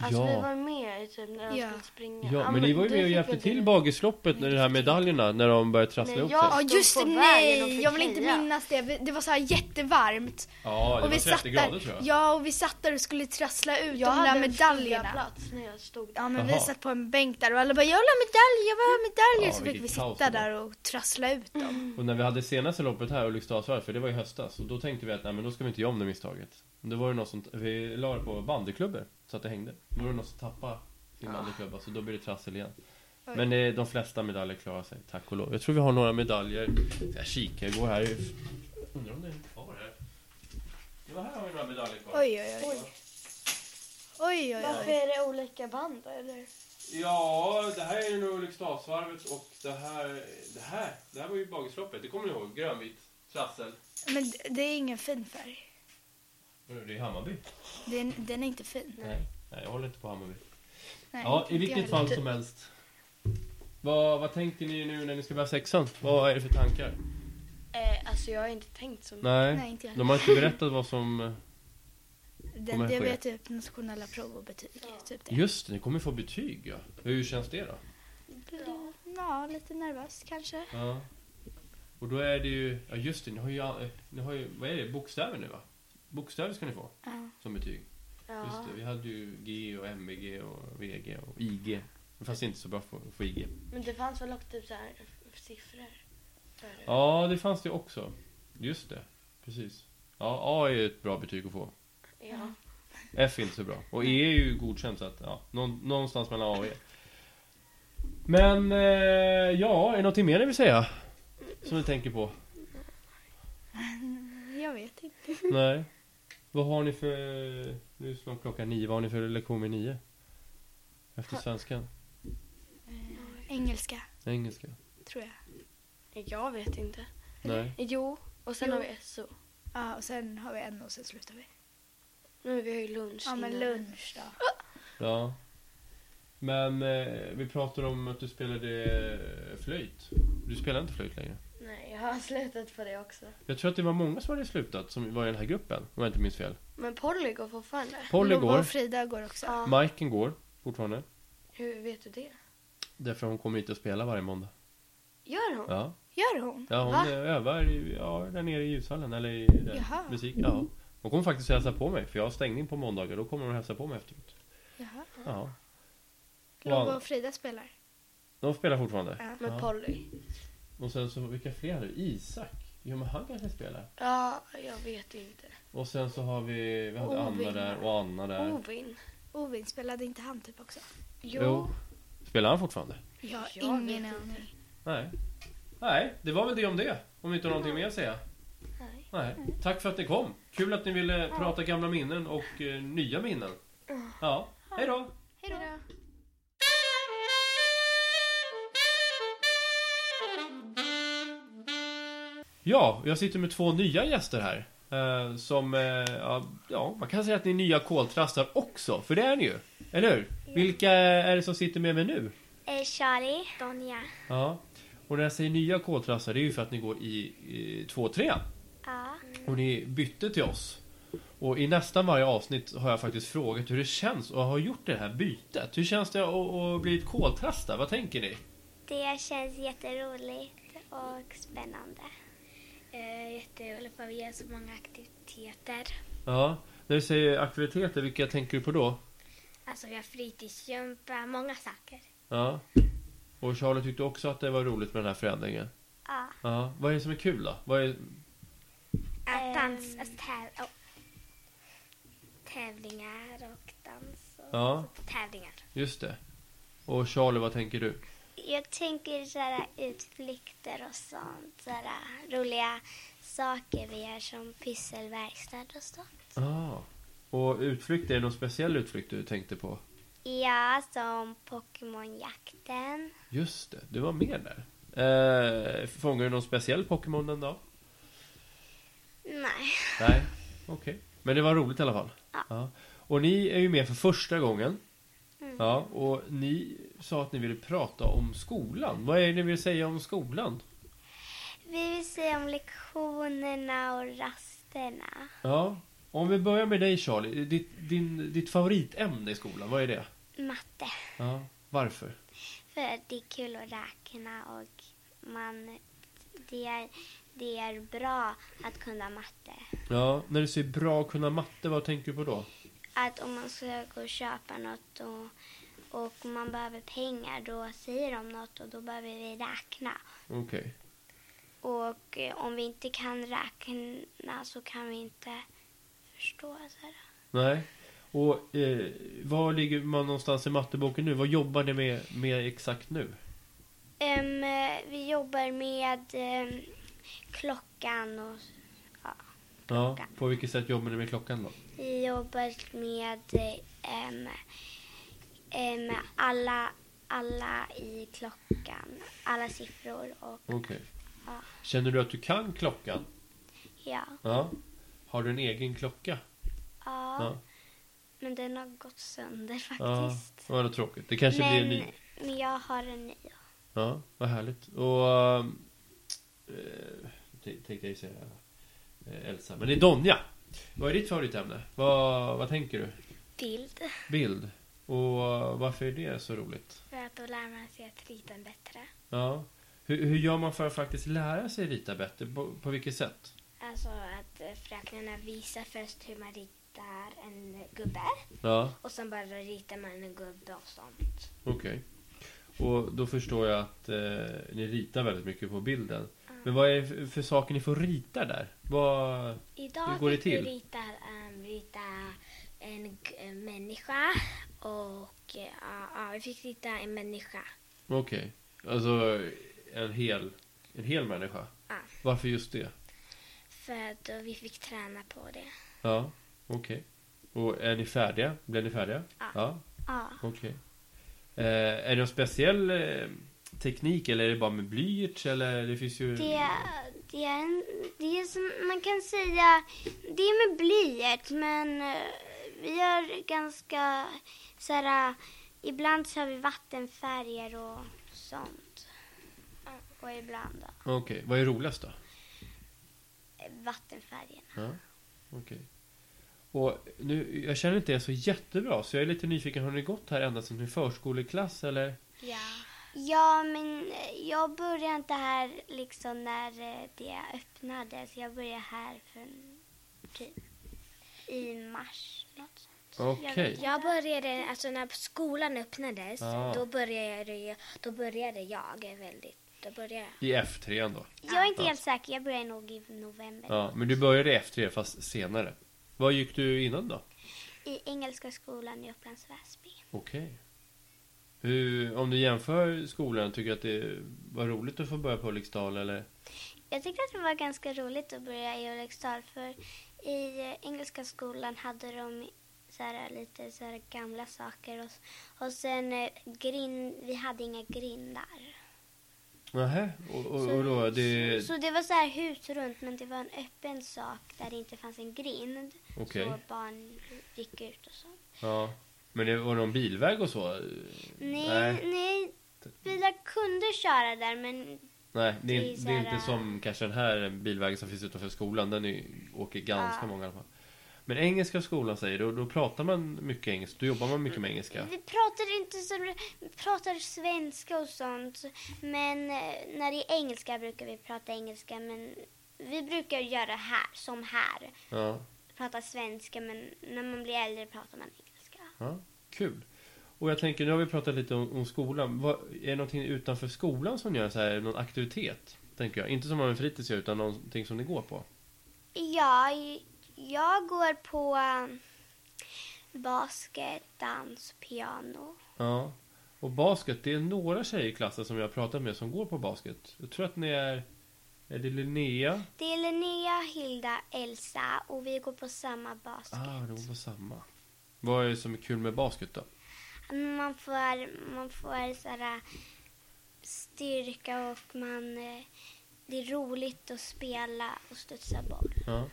S2: Alltså vi
S1: Ja.
S2: var med i typ när de
S4: Ja.
S2: skulle springa.
S1: Ja, men ni var ju
S2: du
S1: med och
S2: fick
S1: hjälpte
S2: väl
S1: till
S2: det.
S1: bagisloppet när de här medaljerna, när de började trassla
S2: Nej,
S1: ihop
S2: jag-
S1: sig.
S2: Ja, just det, nej,
S4: Jag vill inte
S2: heja.
S4: minnas det. Vi- Det var så här jättevarmt.
S1: Ja, det
S4: och vi
S1: var 30 grader
S4: där,
S1: tror jag.
S4: Ja, och vi satt där och skulle trassla ut
S2: Jag
S4: de
S2: hade
S4: där
S2: en
S4: medaljerna.
S2: plats när jag stod där.
S4: Ja men
S1: Jaha.
S4: vi satt på en bänk där och alla bara jag vill ha medaljer, jag vill ha medaljer.
S1: Ja,
S4: så fick
S1: vilket
S4: vi
S1: kaos
S4: sitta
S1: det var.
S4: där och trassla ut dem.
S1: Och när vi hade senaste loppet här, Ulriksdalsvarvet, för det var i höstas, och då tänkte vi att nej men då ska vi inte göra om det misstaget. Men Då var det något som, vi la det på bandyklubbor, så att det hängde. Då var det någon som tappade sin bandyklubba, så då blir det trassel igen.
S4: Ah. Oj.
S1: Men eh, de flesta medaljer klarar sig, tack och lov. Jag tror vi har några medaljer. Jag kikar, jag går här. Undrar om det är kvar här. Ja, här har vi några medaljer kvar.
S4: Oj oj oj. Oj oj
S2: Varför
S4: oj.
S2: är det olika band då, eller?
S1: Ja, det här är nog Ulriksdalsvarvet och det här, det här, det här var ju bagisloppet. Det kommer ni ihåg? Grönvitt, trassel.
S4: Men d- det är ingen fin färg.
S1: Det är Hammarby.
S4: Den, den är inte fin.
S1: Nej, nej jag håller inte på Hammarby.
S4: Nej,
S1: Ja,
S4: inte
S1: i
S4: jag
S1: vilket
S4: heller.
S1: fall som helst. Vad, vad tänker ni nu när ni ska börja sexan? Vad är det för tankar?
S2: Eh, alltså jag har inte tänkt så mycket.
S1: Nej,
S4: Nej, inte jag
S1: de har inte berättat vad som... kommer
S4: Den,
S1: att
S4: det
S1: ske.
S4: blir typ nationella prov och betyg. Typ det.
S1: Just det, ni kommer få betyg ja. Hur känns det då?
S4: Ja, lite nervös kanske.
S1: Ja. Och då är det ju... Ja just det, ni har ju... eh, Ni har ju vad är det? Bokstäver nu va? Bokstäver ska ni få
S4: Ja.
S1: som betyg.
S2: Ja.
S1: Just det, vi hade ju G och MVG och VG och IG. Det fanns inte så bra för, för IG.
S2: Men det fanns väl också typ så här f- siffror? förut?
S1: Ja, det fanns det också. Just det, precis. Ja, A är ju ett bra betyg att få.
S2: Ja.
S1: F är inte så bra. Och E är ju godkänt så att, ja, någon- någonstans mellan A och E. Men, eh, ja, är det någonting mer ni vill säga? Som ni tänker på?
S4: Jag vet inte.
S1: Nej. Vad har ni för, nu är det snart klockan nio, vad har ni för lektion vid nio? Efter svenskan?
S4: Engelska,
S1: Engelska?
S4: tror jag.
S2: Jag vet inte.
S1: Nej.
S2: Jo, och sen
S4: Jo.
S2: har vi SO.
S4: Ja, och sen har vi en och sen slutar vi.
S2: Nu vi har ju lunch
S4: Ja, men
S2: innan.
S4: lunch då.
S1: Ja. Men eh, vi pratade om att du spelade eh, flöjt. Du spelar inte flöjt längre.
S2: Nej, jag har *laughs* slutat på det också.
S1: Jag tror att det var många som hade slutat, som var i den här gruppen, om jag inte minns fel.
S2: Men Polly går fortfarande.
S1: Polly
S4: Lova
S1: går,
S4: och Frida går också.
S2: Ja.
S1: Majken går fortfarande.
S2: Hur vet du det?
S1: Därför hon kommer hit och spelar varje måndag.
S2: Gör hon?
S1: Ja,
S4: Gör hon?
S1: ja hon
S2: Va?
S1: eh, övar i- ja, där nere i ljushallen eller i där,
S4: Jaha.
S1: musik. Ja. Hon kommer faktiskt hälsa på mig för jag har stängning på måndagar. Då kommer hon hälsa på mig efteråt.
S4: Jaha.
S1: Ja.
S4: Lova
S1: Wow.
S4: och Frida spelar.
S1: De spelar fortfarande.
S4: Ja.
S2: Med
S1: Ja.
S2: Polly?
S1: Och sen så, vilka fler hade vi? Isak? Jo men han kanske spelar.
S2: Ja, jag vet inte.
S1: Och sen så har vi, vi hade Anna
S4: Ovin.
S1: där och Anna där.
S2: Ovin?
S4: Ovin, spelade inte han typ också?
S2: Jo.
S1: Spelar han fortfarande?
S4: Jag har
S2: Jag
S4: ingen
S2: vet
S4: aning.
S1: Nej. Nej, det var väl det om det. Om ni inte har någonting mer att säga.
S2: Nej.
S1: Nej. Tack för att ni kom. Kul att ni ville prata gamla minnen och eh, nya minnen. Ja, hej då.
S4: Hej då.
S1: Ja, jag sitter med två nya gäster här. Eh, som, eh, ja, ja, man kan säga att ni är nya koltrastar också, för det är ni ju. Eller hur? Vilka är det som sitter med mig nu?
S3: Eh, Charlie. Donja.
S1: Ja. Och när jag säger nya koltrastar, det är ju för att ni går i, i 2-3.
S3: Ja.
S1: Och ni bytte till oss. Och i nästan varje avsnitt har jag faktiskt frågat hur det känns att ha gjort det här bytet. Hur känns det att, att bli ett koltrasta? Vad tänker ni?
S3: Det känns jätteroligt och spännande. Eh, jätteroligt för vi gör så många aktiviteter.
S1: Ja, när du säger aktiviteter, vilka tänker du på då?
S3: Alltså vi har fritidsgympa, många saker.
S1: Ja. Och Charlie tyckte också att det var roligt med den här förändringen.
S3: Ja.
S1: Ja, vad är det som är kul då? Vad är...
S3: Att Ehm. dansa, täv och tävlingar och dans och
S1: Ja.
S3: tävlingar.
S1: Just det. Och Charlie, vad tänker du?
S3: Jag tänker sådär utflykter och sånt. Sådär roliga saker vi gör som pysselverkstad och sånt.
S1: Ah. Och utflykt, är det någon speciell utflykt du tänkte på?
S3: Ja, som Pokémonjakten.
S1: Just det, du var med där. Eh, fångar du någon speciell Pokémon den dagen?
S3: Nej.
S1: Nej, okej. Men det var roligt i alla fall.
S3: Ja.
S1: Och ni är ju med för första gången.
S3: Mm.
S1: Ja, och ni sa att ni ville prata om skolan. Vad är det ni vill säga om skolan?
S3: Vi vill se om lektionerna och rasterna.
S1: Ja, om vi börjar med dig Charlie. Ditt, din, ditt favoritämne i skolan, vad är det?
S3: Matte.
S1: Ja, varför?
S3: För det är kul att räkna och man, det, är, det är bra att kunna matte.
S1: Ja, när du säger bra att kunna matte, vad tänker du på då?
S3: Att om man ska gå och köpa något och, och man behöver pengar då säger de något och då behöver vi räkna.
S1: Okej.
S3: Och eh, om vi inte kan räkna så kan vi inte förstå. Så här.
S1: Nej. Och eh, var ligger man någonstans i matteboken nu? Vad jobbar ni med, med exakt nu?
S3: Ehm, eh, vi jobbar med ehm, klockan och
S1: Ja,
S3: Klockan.
S1: på vilket sätt jobbar ni med klockan då?
S3: Vi jobbar med eh, em, em, alla, alla i klockan, alla siffror och
S1: Okej.
S3: Ja.
S1: Känner du att du kan klockan?
S3: ja.
S1: Ja. Har du en egen klocka?
S3: ja.
S1: Ja.
S3: Men den har gått sönder
S1: Ja,
S3: faktiskt.
S1: vad tråkigt. Det kanske blir en ny.
S3: men, men jag har en ny.
S1: Ja, vad härligt. Och... ehm, Eh, t- tänkte jag ju säga eh, Elsa. Men det är Donja. Vad är ditt favoritämne? Vad, vad tänker du?
S4: Bild.
S1: Bild. Och eh, varför är det så roligt?
S4: För att då lär man sig att rita bättre.
S1: Ja. Hur, hur gör man för att faktiskt lära sig rita bättre? På, på vilket sätt?
S4: Alltså att eh, fröknarna visar först hur man ritar en gubbe.
S1: Ja,
S4: Och sen bara ritar man en gubbe och sånt.
S1: okej. Och då förstår jag att eh, ni ritar väldigt mycket på bilden. Men vad är det för- för saker ni får rita där? Vad...
S4: Idag
S1: Hur går det
S4: fick vi
S1: till?
S4: Rita, ehm, rita en, g- en människa och eh, ja, ja, vi fick rita en människa.
S1: Okej. Alltså en hel, en hel människa?
S4: Ja.
S1: Varför just det?
S4: För att då vi fick träna på det.
S1: Ja, okej. Och är ni färdiga? Blev ni färdiga?
S4: Ja.
S3: Ja.
S1: okej. Eh, är det någon speciell eh, teknik eller är det bara med blyerts eller det finns ju...
S3: Det, det, är en, det är som man kan säga, det är med blyert men eh, vi gör ganska så här, ibland så har vi vattenfärger och sånt. Och ibland då,
S1: Okej, vad är roligast då?
S3: eh, vattenfärgerna.
S1: Ja, okej. Och nu, jag känner inte er så jättebra så jag är lite nyfiken. Har ni gått här ända sedan i förskoleklass eller?
S4: Ja.
S3: Ja, men eh, jag började inte här liksom när eh, det öppnades. Jag började här för en- typ i mars. Något. sånt.
S1: Okej.
S4: Jag började, alltså när skolan öppnades,
S1: Ja.
S4: då, började jag, då började jag väldigt, då började jag.
S1: I F3 ändå.
S3: Jag är inte
S1: Ja.
S3: helt säker. Jag började nog i november.
S1: Ja, men du började i F3 fast senare. Vad gick du innan då?
S3: I Engelska skolan i Upplands Väsby.
S1: Okej. Hur, om du jämför skolan, tycker du att det var roligt att få börja på Ulriksdal eller?
S3: Jag tyckte att det var ganska roligt att börja i Ulriksdal för i eh, engelska skolan hade de så här, eh, lite så här gamla saker och, och sen eh, grind, vi hade inga grindar.
S1: Nähä, och, och, och då det...
S3: så det var så här hus runt men det var en öppen sak där det inte fanns en grind.
S1: Okej.
S3: Så barn gick ut och så.
S1: Ja. Men det var någon bilväg och så?
S3: Nej,
S1: Nej.
S3: nej. Bilar kunde köra där men
S1: Nej, det
S3: Det
S1: är,
S3: är så
S1: det är inte
S3: här, äh.
S1: som kanske den här bilvägen som finns utanför skolan. Den är, åker ganska
S3: Ja.
S1: många i alla fall. Men engelska skolan säger du, då pratar man mycket engelska. Då jobbar man mycket med engelska.
S3: vi pratade inte så, vi pratade svenska och sånt. Men eh, när det är engelska brukar vi prata engelska men vi brukar göra här, som här.
S1: Ja.
S3: Prata svenska men när man blir äldre pratar man engelska.
S1: Ja, kul. Och jag tänker, nu har vi pratat lite om, om skolan. Vad, är det någonting utanför skolan som gör så här, någon aktivitet? Tänker jag. Inte som man har en fritids gör, utan någonting som ni går på.
S3: Ja, j- jag går på eh, basket, dans, piano.
S1: Ja. Och basket, det är några tjejer i klassen som jag har pratat med som går på basket. Jag tror att ni är... Är det Linnea?
S3: Det är Linnea, Hilda, Elsa och vi går på samma basket.
S1: Ah, de går på samma. Vad är det som är kul med basket då?
S3: Man får, man får såhär, styrka och man, eh, det är roligt att spela och studsa boll.
S1: Ja.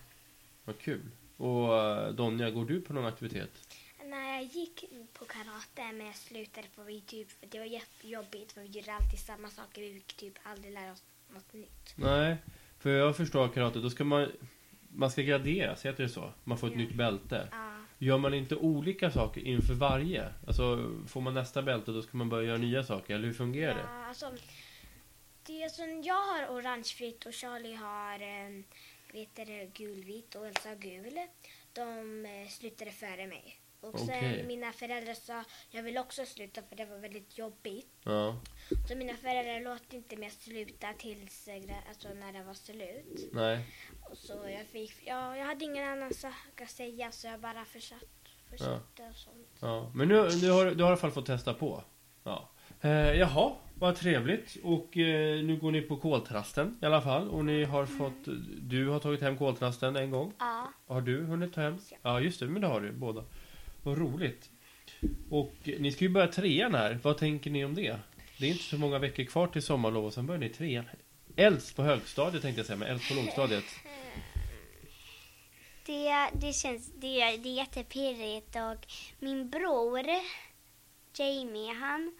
S1: Vad kul. Och eh, Donja, går du på någon aktivitet?
S5: När jag gick på karate men jag slutade på vi typ, för det var jättejobbigt för vi gjorde alltid samma saker. Vi fick typ aldrig lära oss något nytt.
S1: Nej. För jag förstår karate, då ska man... Man ska graderas, heter det så? Man får ett
S5: Ja.
S1: nytt bälte.
S5: Ja.
S1: Gör man inte olika saker inför varje? Alltså, får man nästa bälte då ska man börja göra nya saker, eller hur fungerar det?
S5: Ja, alltså, det som jag har orangefritt och Charlie har eh, vet det, gulvitt och Elsa har gul. De eh, slutade före mig. Och
S1: Okej.
S5: sen mina föräldrar sa jag vill också sluta för det var väldigt jobbigt.
S1: Ja.
S5: Så mina föräldrar låt inte mig sluta tills eh, gra- alltså, när det var slut.
S1: Nej.
S5: Och så jag, fick, ja, jag hade ingen annan sak att säga så jag bara försökte. försökte och sånt.
S1: Ja, men nu, nu har du har i alla fall fått testa på. Ja. Eh, jaha, vad trevligt. Och eh, nu går ni på koltrasten i alla fall. Och ni har fått, du har tagit hem koltrasten en gång.
S3: Ja.
S1: Har du hunnit ta hem?
S5: Ja.
S1: Ja, just det, men det har du båda. Vad roligt. Och eh, ni ska ju börja trean här. Vad tänker ni om det? Det är inte så många veckor kvar till sommarlov och sen börjar ni trean. Äldst på högstadiet tänkte jag säga, men äldst på lågstadiet.
S3: Det, det känns, det, det är jättepirrigt och min bror Jamie, han,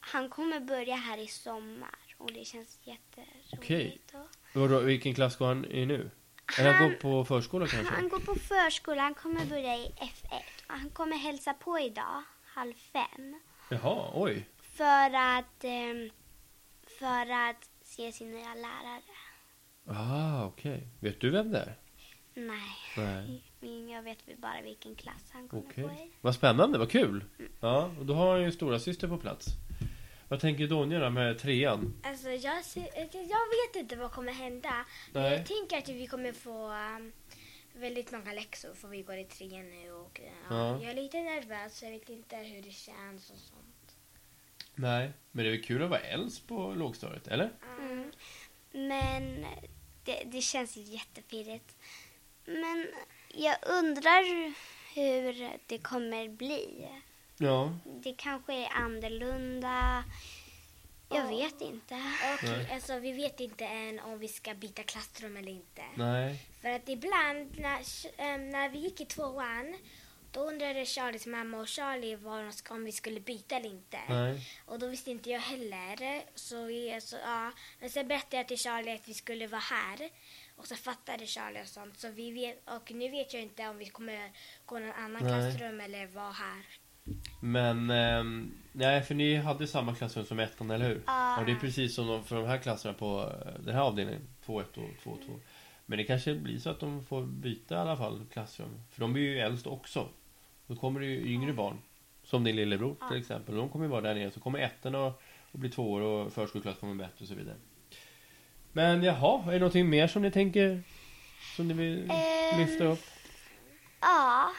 S3: han kommer börja här i sommar och det känns jätteroligt.
S1: Okej.
S3: och-
S1: Vadå, vilken klass går han i nu? Eller han går på förskola kanske?
S3: Han går på förskolan, han kommer börja i F1. Han kommer hälsa på idag, halv fem.
S1: Jaha, oj.
S3: För att, ehm, för att se sin nya lärare.
S1: Ah, okej. Vet du vem det är?
S3: Nej,
S1: Nej.
S3: men jag vet väl bara vilken klass han kommer
S1: Mm. Okej.
S3: gå i.
S1: Vad spännande, vad kul. Ja, och då har han ju stora syster på plats. Vad tänker Donja då med trean?
S5: Alltså jag, ser- eh, jag vet inte vad kommer hända.
S1: Nej.
S5: Jag tänker att vi kommer få um, väldigt många läxor för vi går i trean nu och eh,
S1: Ja.
S5: ja. jag är lite nervös så jag vet inte hur det känns och sånt.
S1: Nej. Men det är väl kul att vara äldst på lågstadiet, eller?
S3: Mm. Men det, det känns jättepirrigt. Men jag undrar hur det kommer bli.
S1: Ja.
S3: Det kanske är annorlunda. Jag
S5: Ja.
S3: vet inte.
S5: Och
S1: Nej.
S5: alltså vi vet inte än om vi ska byta klassrum eller inte.
S1: Nej.
S5: För att ibland när, eh, när vi gick i tvåan då undrade Charlies mamma och Charlie var de ska, om vi skulle byta eller inte.
S1: Nej.
S5: Och då visste inte jag heller. Så vi, så, ja. Men sen berättade jag till Charlie att vi skulle vara här. Och så fattade Charlie och sånt. Så vi vet, och nu vet jag inte om vi kommer gå någon annan
S1: Nej.
S5: klassrum eller vara här.
S1: Men, ehm, nej för ni hade samma klassrum som ettan, eller hur?
S3: Ja.
S1: Och det är precis som de, för de här klasserna på eh, den här avdelningen, 2-1 och 2-2. Men det kanske blir så att de får byta i alla fall klassrum. För de är ju äldst också. Då kommer det ju yngre barn. Som din lillebror till exempel. De kommer ju vara där nere. Så kommer ettan och, och bli två år och förskoleklass kommer bättre och så vidare. Men jaha, är det någonting mer som ni tänker? Som ni vill
S3: Ehm.
S1: lyfta upp?
S3: Ja,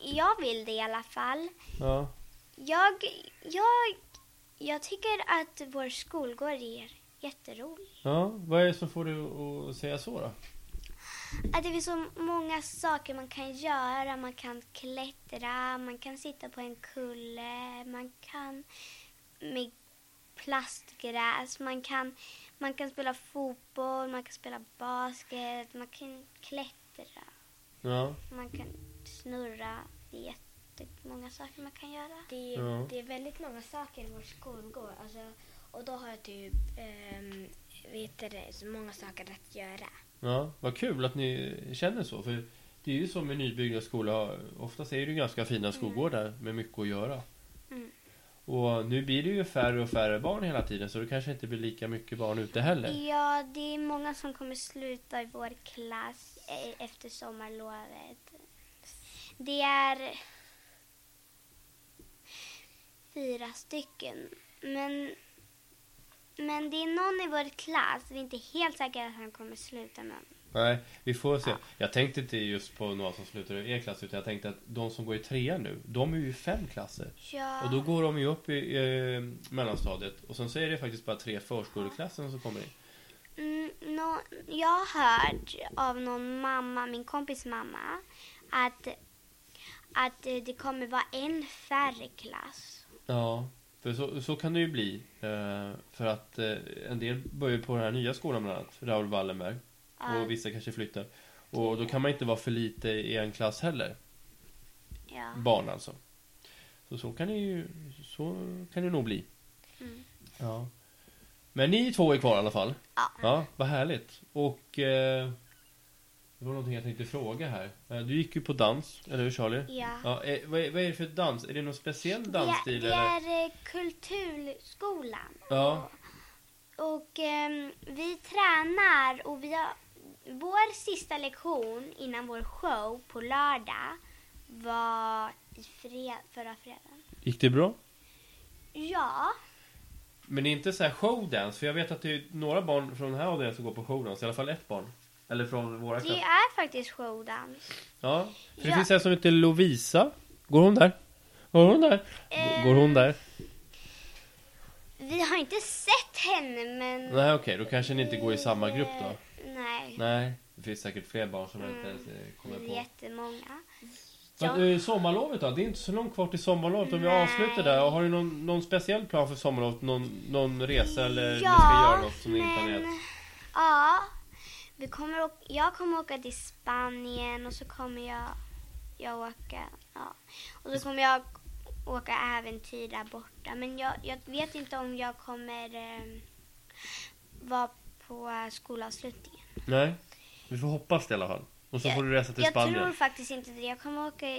S3: jag vill det i alla fall.
S1: Ja.
S3: Jag, jag, jag tycker att vår skolgård är jätterolig.
S1: ja. Vad är det som får dig att- att säga så då?
S3: Att det finns så många saker man kan göra. Man kan klättra, man kan sitta på en kulle, man kan med plastgräs, man kan, man kan spela fotboll, man kan spela basket, man kan klättra,
S1: Ja.
S3: man kan snurra. Det är jättemånga saker man kan göra.
S5: Det,
S1: Ja.
S5: det är väldigt många saker i vår skolgård. Alltså, och då har jag typ ehm, vet du det, så många saker att göra.
S1: Ja, vad kul att ni känner så. För det är ju som med nybyggda skolor. Oftast är det ju ganska fina skolgårdar med mycket att göra.
S3: Mm.
S1: Och nu blir det ju färre och färre barn hela tiden. Så det kanske inte blir lika mycket barn ute heller.
S3: Ja, det är många som kommer sluta i vår klass eh, efter sommarlovet. Det är... fyra stycken. Men, men det är någon i vår klass, vi är inte helt säkra att han kommer sluta med.
S1: Nej, vi får se. Jag tänkte inte just på några som slutar i er klass utan jag tänkte att de som går i trean nu, de är ju i fem klasser.
S3: Ja.
S1: Och då går de ju upp i eh, mellanstadiet och sen så är det faktiskt bara tre förskoleklassen som kommer in.
S3: Mm, nå- jag har hört av någon mamma, min kompis mamma, att, att eh, det kommer vara en färre klass.
S1: Ja, för så, så kan det ju bli. Eh, för att eh, en del börjar på den här nya skolan bland annat, Raoul Wallenberg.
S3: Ja.
S1: Och vissa kanske flyttar. Och då kan man inte vara för lite i en klass heller.
S3: Ja.
S1: Barn alltså. Så så kan det ju så kan det nog bli.
S3: Mm.
S1: Ja. Men ni två är kvar i alla fall.
S3: Ja.
S1: Ja, vad härligt. Och eh, det var någonting jag tänkte fråga här. Eh, Du gick ju på dans, eller hur Charlie?
S3: Ja.
S1: Ja, eh, vad, är, vad är det för dans? Är det någon speciell dansstil?
S3: det
S1: eller?
S3: är, det är eh, kulturskolan.
S1: Ja,
S3: Och ehm, vi tränar och vi har, vår sista lektion innan vår show på lördag var i fred, förra fredagen.
S1: gick det bra?
S3: Ja,
S1: Men det är inte så här showdance, för jag vet att det är några barn från den här avdelningen som går på showdance, i alla fall ett barn. Eller från våra
S3: det
S1: klasser.
S3: är faktiskt showdans.
S1: Ja, för det
S3: Ja.
S1: finns en som heter Lovisa. Går hon där? Går hon där?
S3: Eh.
S1: G- Går hon där?
S3: Vi har inte sett henne men...
S1: Nej okej, då kanske ni inte går i samma grupp då.
S3: Nej,
S1: Nej, det finns säkert fler barn som jag inte
S3: Mm.
S1: ens eh,
S3: vi
S1: kommer
S3: är
S1: på.
S3: jättemånga.
S1: Men, eh, sommarlovet då? Det är inte så långt kvar till sommarlovet om vi
S3: Nej.
S1: avslutar där. Och Har du någon, någon speciell plan för sommarlovet? Någon, någon resa eller ni ska
S3: Ja,
S1: göra något som ni inte har
S3: men-
S1: planerat?
S3: Ja, vi kommer åka, jag kommer åka till Spanien och så kommer jag, jag åka, ja. Och så kommer jag åka äventyr där borta. Men jag, jag vet inte om jag kommer eh, vara på eh, skolavslutningen.
S1: Nej, vi får hoppas det i alla fall. Och så får du resa till
S3: jag
S1: Spanien.
S3: tror faktiskt inte det. Jag kommer åka,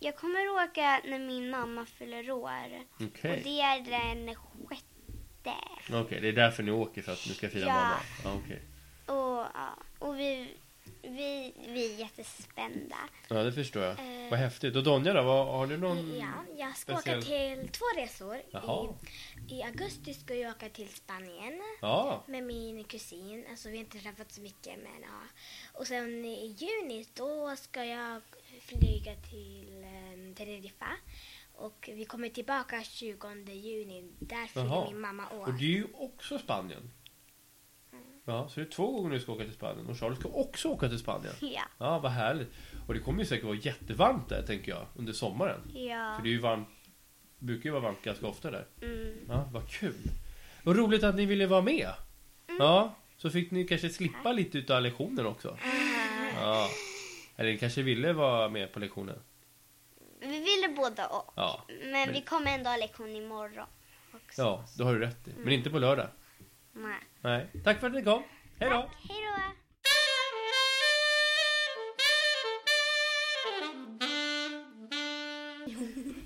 S3: jag kommer åka när min mamma fyller år.
S1: Okej.
S3: Och det är den sjätte.
S1: Okej, det är därför ni åker för att ni ska fira
S3: Ja.
S1: mamma. Ja, okej.
S3: Och, ja, och vi, vi, vi är jättespända.
S1: Ja, det förstår jag.
S3: Eh.
S1: Vad häftigt. Och Donja då, vad, har du någon...
S4: Ja, jag ska
S1: speciell-
S4: åka till två resor.
S1: Jaha.
S4: I, I augusti ska jag åka till Spanien
S1: Ja,
S4: med min kusin. Alltså vi har inte träffats så mycket men ja. Och sen i juni då ska jag flyga till eh, Teneriffa. Och vi kommer tillbaka 20 juni. Där fyller
S1: Jaha.
S4: min mamma
S1: och det är
S4: år.
S1: ju också Spanien.
S3: Mm.
S1: Ja, så det är två gånger du ska åka till Spanien. Och Charles ska också åka till Spanien.
S3: Ja.
S1: Ja, vad härligt. Och det kommer ju säkert vara jättevarmt där, tänker jag, under sommaren.
S3: Ja.
S1: För det är ju varmt, brukar ju vara varmt ganska ofta där.
S3: Mm.
S1: Ja, vad kul. Vad roligt att ni ville vara med.
S3: Mm.
S1: Ja, så fick ni kanske slippa lite utav lektionen också. Ja. Eller ni kanske ville vara med på lektionen.
S3: Vi ville båda och.
S1: Ja,
S3: Men,
S1: Men-
S3: vi kommer ändå ha lektion imorgon också.
S1: ja det har du rätt i. Men inte på lördag.
S3: Nej.
S1: Nej. Tack för att ni kom. Hej då!
S3: Hej då!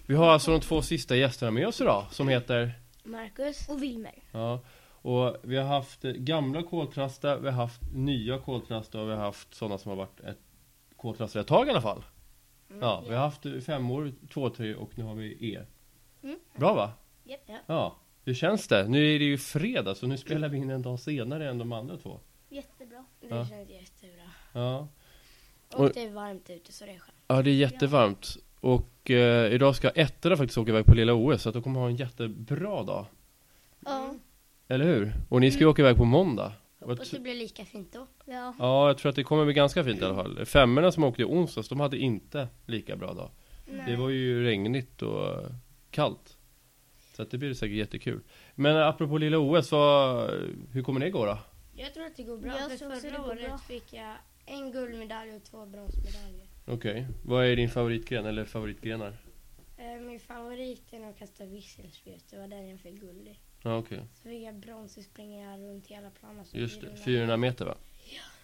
S1: Vi har alltså de två sista gästerna med oss idag som heter
S4: Marcus och Wilmer.
S1: Ja, och vi har haft eh, gamla koltrastar, vi har haft nya koltrastar och vi har haft sådana som har varit ett koltrastar ett tag i alla fall. ja, vi har haft eh, femmor, två, tre och nu har vi er. Bra va?
S4: Ja.
S1: Ja. Hur känns det? Nu är det ju fredag så nu spelar vi in en dag senare än de andra två.
S4: Jättebra.
S6: Det
S1: Ja.
S6: känns jättebra.
S1: Ja,
S6: Och,
S1: Och-
S6: det är varmt ute så det är skönt.
S1: ja det är jättevarmt. Och eh, idag ska ettorna faktiskt åka iväg på lilla OS så att de kommer ha en jättebra dag.
S6: Ja.
S1: Eller hur? Och ni ska ju åka iväg på måndag. Vad
S6: Hoppas det blir lika fint då.
S4: Ja.
S1: Ja, jag tror att det kommer bli ganska fint i alla fall. Femmorna som åkte i onsdags, de hade inte lika bra dag. Det var ju regnigt och kallt. Så att det blir säkert jättekul. Men apropå lilla OS, vad, hur kommer det gå då?
S6: Jag tror att det går bra.
S4: Jag
S6: för
S4: tror också det
S6: förra
S4: går
S6: året
S4: bra.
S6: fick jag en guldmedalj och två bronsmedaljer.
S1: Okej, vad är din favoritgren eller favoritgrenar?
S6: Eh, Min favorit är nog att kasta visselspjut. Det var den jag fick guld i.
S1: Ja, okej.
S6: Så fick jag brons i springa runt hela planen. Så
S1: Just det,
S6: fyrhundra.
S1: 400 meter va?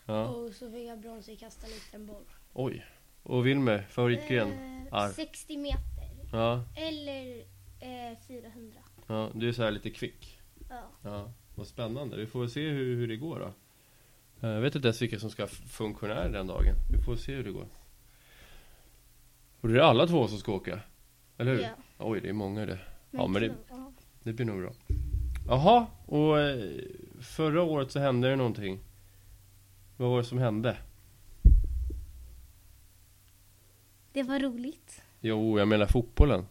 S1: Ja.
S6: Och så fick jag brons i kasta liten boll.
S1: Oj. Och Wilmer,
S3: Eh.
S1: favoritgren?
S5: Eh,
S1: Arv.
S6: 60 meter.
S1: Ja,
S6: Eller 400.
S1: ja, du är så här lite kvick.
S6: Ja.
S1: Ja, vad spännande. Vi får väl se hur, hur det går då. Eh, Jag vet inte ens vilka som ska ha funktionär den dagen. Vi får se hur det går. Och det är alla två som ska åka? Eller hur?
S6: Ja.
S1: Oj, det är många det. Ja, men det, det blir nog bra. Jaha, och eh, förra året så hände det någonting. Vad var det som hände?
S5: Det var roligt.
S1: Jo, jag menar fotbollen.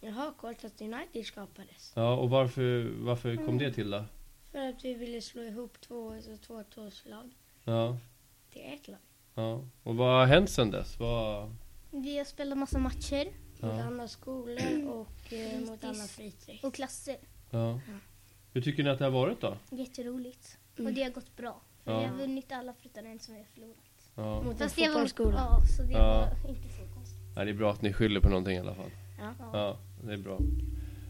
S6: Jaha, Colchester United skapades.
S1: Ja, och varför, varför kom det till då?
S6: För att vi ville slå ihop två alltså två tvåslag
S1: Ja,
S6: till ett lag.
S1: ja. Och vad har hänt sen dess? Vad...
S5: Vi har spelat massa matcher
S6: Mot
S1: Ja.
S6: andra skolor och eh, mot
S5: Fritids.
S6: andra fritids.
S5: och klasser.
S1: Ja. Hur tycker ni att det har varit då?
S5: Jätteroligt. Och det har gått bra. För
S1: Ja.
S5: Vi har vunnit alla förutom en som vi har förlorat.
S1: Ja.
S6: Mot en
S5: Fast det var,
S6: fotbollsskola.
S5: ja, så det
S1: Ja.
S5: var inte så konstigt.
S1: Nej, det är bra att ni skyller på någonting i alla fall.
S6: Ja.
S1: Ja, det är bra.